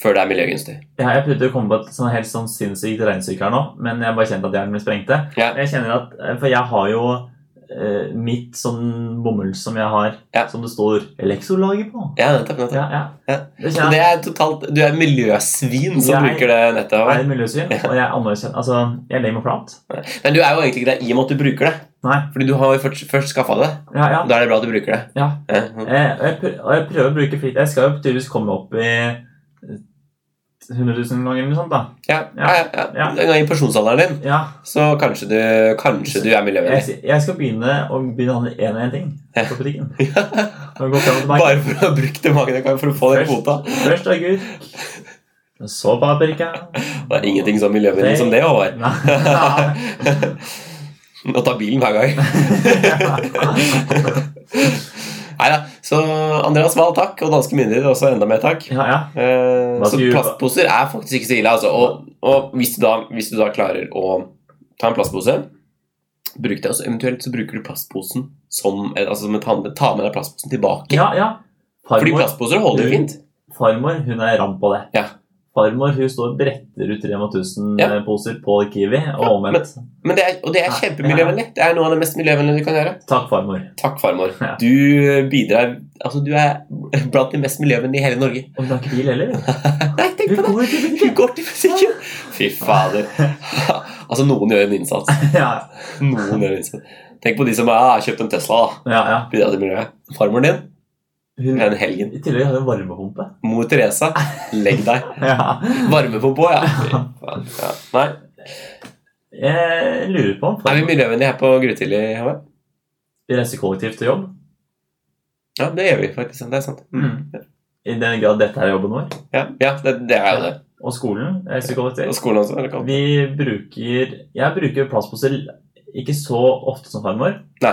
Før det er miljøgunstig.
ja, jeg prøvde å komme på et sånn helt sånn sinnssykt regnestykke her nå, men jeg bare kjente at hjernen min sprengte.
Ja.
Jeg kjenner at, eh, For jeg har jo eh, mitt sånn bomull som jeg har,
Ja.
som det står Elektrolaget på.
Ja, nettopp, nettopp.
Ja, ja.
Ja.
Det
Så
kjenner
det
jeg.
er totalt Du er miljøsvin som
Jeg-
bruker det nettet.
Jeg er
Over.
et miljøsyn, og jeg anerkjenner Altså, jeg legger meg flat.
Men du er jo egentlig ikke det i og med at du bruker det.
Nei.
Fordi du har jo først, først skaffa det.
Ja, ja.
Da er det bra at du bruker det.
Ja.
Ja.
Eh, og jeg, prø- og jeg prøver å bruke flit. Jeg skal jo tydeligvis komme opp i eh, 100 000 ganger eller noe sånt, da.
Ja, ja, ja, ja.
Ja.
En gang i pensjonsalderen din,
Ja,
så kanskje du, kanskje du er miljøvennlig.
jeg, jeg skal begynne å begynne å handle én og én ting på butikken. Og gå frem og tilbake.
Bare for å ha brukt det mange ganger for å få den kvota.
Først agurk, så paprika
Det er ingenting så miljøvennlig som det, Håvard. [laughs]
Nei.
Å ta bilen hver gang.
[laughs]
Nei da. Så Andreas Wahl, takk. Og danske myndigheter også enda mer takk.
Ja, ja.
Eh,
Hva
så
skal vi gjøre da?
plastposer er faktisk ikke så ille. Altså. Og, og hvis, du da, hvis du da klarer å ta en plastpose Bruk det, og så Eventuelt så bruker du plastposen som et, altså som et handle, Ta med deg plastposen tilbake.
ja, ja.
Fordi
Farmor,
plastposer holder jo fint.
farmor hun er ram på det.
Ja.
Farmor hun står og bretter ut Rema
Ja.
1000-poser eh, på Kiwi, og omvendt.
Men det er, og det er
Ja,
kjempemiljøvennlig. Det er noe av det mest miljøvennlige du kan gjøre.
Takk, farmor.
Takk, farmor.
Ja.
Du bidrar Altså, du er blant de mest miljøvennlige i hele Norge.
Og hun har ikke bil heller. hun.
Nei, tenk
Hun
på det!
går [laughs] ikke
Du går til musikken! Fy
[laughs]
fader. altså, noen gjør en innsats.
Ja,
Noen gjør en innsats. Tenk på de som har ah, kjøpt en Tesla. da.
ja. ja.
bidra til miljøet. Farmoren din,
Hun,
den helgen.
I tillegg har hun varmepumpe.
Mor Teresa, legg deg.
Ja.
Varme på på, ja. Fy faen, ja. Nei,
Jeg lurer på om
er vi
farmor
miljøvennlige her på Grutidli? Håvard?
reiser kollektivt til jobb.
Ja, det gjør vi faktisk. Det er sant.
I den grad dette er jobben vår.
Ja, ja det, det er jo det.
Og skolen reiser
Og
kollektivt.
skolen også. Eller hva?
Vi bruker Jeg bruker plastposer ikke så ofte som farmor.
Nei.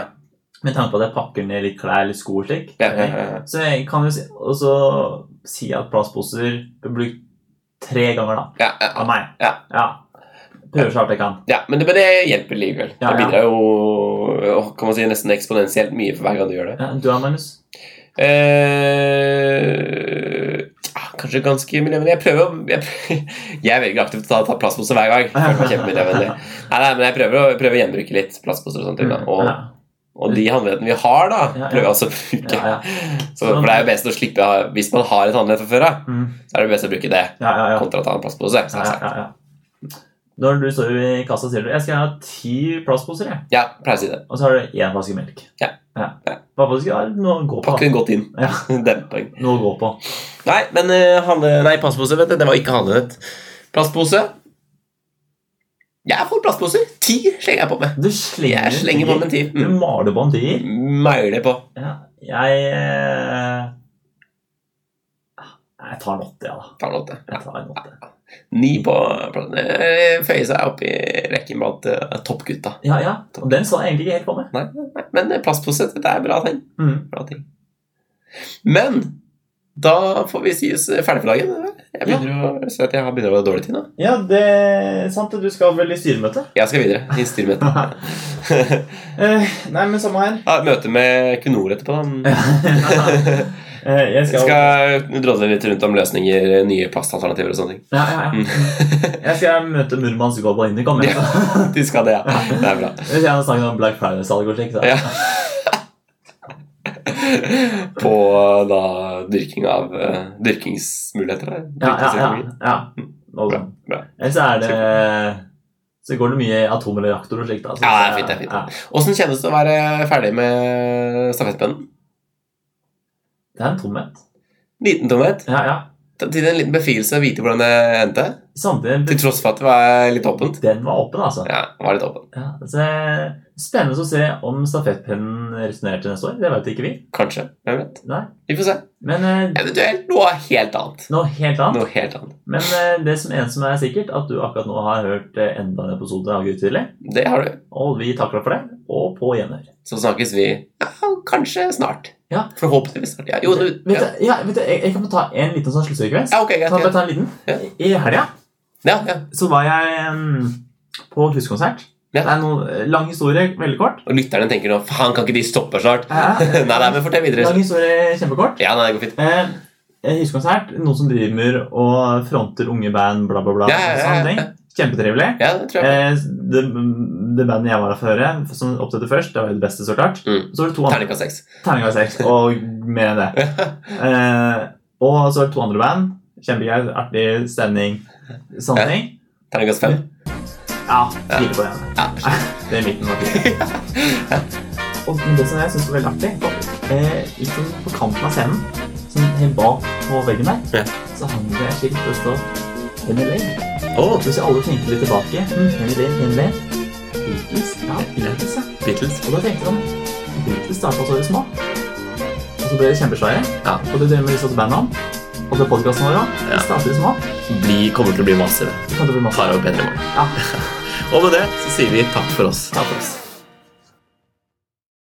Med tanke på at jeg pakker ned litt klær eller sko og slik.
Ja, ja, ja, ja.
Så jeg kan jo si, også si at plastposer blir brukt tre ganger, da.
Ja, ja,
Av meg.
Ja.
Prøver så hardt jeg kan.
ja, men det, men det hjelper likevel.
Ja,
Det
ja.
bidrar jo åh, kan man si, nesten eksponentielt mye for hver gang du gjør det.
Ja, du da, Magnus?
Eh, ja, kanskje ganske miljøvennlig. Jeg prøver å Jeg, prø- [laughs] jeg velger aktivt å ta, ta plastposer hver gang. Føler meg kjempemiljøvennlig. Nei, nei, men jeg prøver å, prøver å gjenbruke litt plastposer og sånt. da. Og,
Mm, Ja.
og de handlenetene vi har, da,
Ja, ja.
prøver jeg også å bruke.
Ja, ja.
Så, for det er jo best å slippe å ha- Hvis man har et håndledd fra før av,
Mm.
så er det best å bruke det
Ja, ja, ja.
kontra å ta en plastpose.
ja,
selvsagt.
ja, ja. Når du står i kassa, sier du 'jeg skal ha ti plastposer', jeg.
Ja, jeg pleier å si det.
og så har du én flaske melk.
Ja.
Hva for du skal ha noe å gå på?
Pakk [laughs] den godt inn.
Ja.
Demping.
Noe å gå på.
Nei, men eh, handle... Nei, plastpose, vet du. Det var ikke handlenett. Plastpose. Jeg er for plastposer. Ti slenger jeg på med.
Du slenger,
Jeg slenger på med en ti.
Du
Mm.
maler bandier.
Mauler på.
Ja. Jeg eh, Jeg tar en åtte, ja, da.
Tar en åtte.
Jeg tar en åtte.
Ni på eh, Føyer seg opp i rekken blant eh, toppgutta.
Ja, ja. Og den så jeg egentlig ikke helt komme.
Nei, nei, men eh, plastpose, det er bra ting.
Mm.
Bra ting. Men da får vi si oss ferdig for dagen. Jeg begynner å se at jeg har begynner å ha dårlig tid nå.
Ja, det er sant. Du skal vel i styremøte? Eh,
Jeg skal videre i styremøtet.
nei, men samme her.
Ja, et møte med Kunor etterpå, da.
Eh, jeg
Vi skal drodle litt rundt om løsninger, nye plastalternativer og sånne ting.
Ja, ja, ja. Jeg skal møte Murmansk Global Indicom. Jeg, så.
De skal det, ja. Det er bra.
[laughs] Jeg vil gjerne snakke om Black Friday-salg og slikt. da.
Ja. [laughs] På da dyrking av eh, Dyrkingsmuligheter, eh, eller?
Ja, ja, ja.
Dyrkingsteknologi.
ja. Og
Mm. Bra,
sånn.
bra.
Ellers så er det Så går det mye atomreaktor og slikt. da. Så
Ja, det er fint, det er fint.
Ja.
Åssen kjennes det å være ferdig med stafettpennen?
Det er en tomhet.
Liten tomhet.
Ja, ja.
Til en liten befrielse å vite hvordan det endte. Til
Samtidig
tross for at det var litt åpent.
Den var åpen, altså.
Ja, det var litt åpent.
Ja, så eh, spennende å se om stafettpennen returnerer til neste år. Det vet ikke vi.
Kanskje. Hvem vet?
Nei.
Vi får se.
Men eh,
Eventuelt noe helt annet.
noe helt annet.
Noe helt annet.
Men eh, det som en som er sikkert, at du akkurat nå har hørt eh, enda en episode av Gutt tidlig.
Det har du.
Og vi takler for det. Og på gjenhør.
Så snakkes vi ja, kanskje snart.
Ja.
Forhåpentligvis snart. Ja, jo, du,
Vet
ja.
du, ja, vet du, jeg, jeg kan få ta en liten sånn sluttsekvens.
ja ok, greit.
Kan jeg bare
greit.
ta en liten?
Ja.
I helga
Ja, ja.
så var jeg em, på huskonsert.
Ja.
Det er en lang historie, veldig kort.
Og lytterne tenker nå faen, kan ikke de stoppe snart?
Ja, ja.
[laughs] nei, nei, men fortell videre.
Lang historie, kjempekort.
Ja, nei, det går fint.
Eh, en huskonsert, noen som driver og fronter unge band, bla, bla, bla.
Ja, ja, ja,
sånne
ja.
ting. Kjempetrivelig.
Ja, det tror jeg.
Eh, det, det bandet jeg var av før, som opptatte først, det var jo det beste, så klart.
Mm.
Så var det to andre
Terningkast seks.
Terninga seks, og mer enn det.
[laughs]
Eh, og så var det to andre band. Kjempegøy, artig stemning. Sånne
Ja.
ting.
Terningkast fem.
Ja, fire på det ene.
Ja.
[laughs] Det er midten var
[laughs]
fire. Og det som jeg syns var veldig artig, var eh, litt sånn på kanten av scenen, sånn helt bak på veggen
Ja.
der, så hang det et skilt hvor det står Henny Lane.
Å,
Hvis alle tenker litt tilbake hm, Henny Lane, Henny Lane. Beatles, ja, Beatles, ja.
Beatles.
Og da tenkte sånn, han Beatles starta så små. altså Og så ble de kjempesvære.
Ja.
Og det drev med disse bandene. Og det podkasten vår òg.
Ja.
De starter små.
Bli, kommer til å bli massive.
Det kan det bli masse.
Tar over bedre i morgen.
Ja.
Og med det så sier vi takk for oss.
Takk for oss.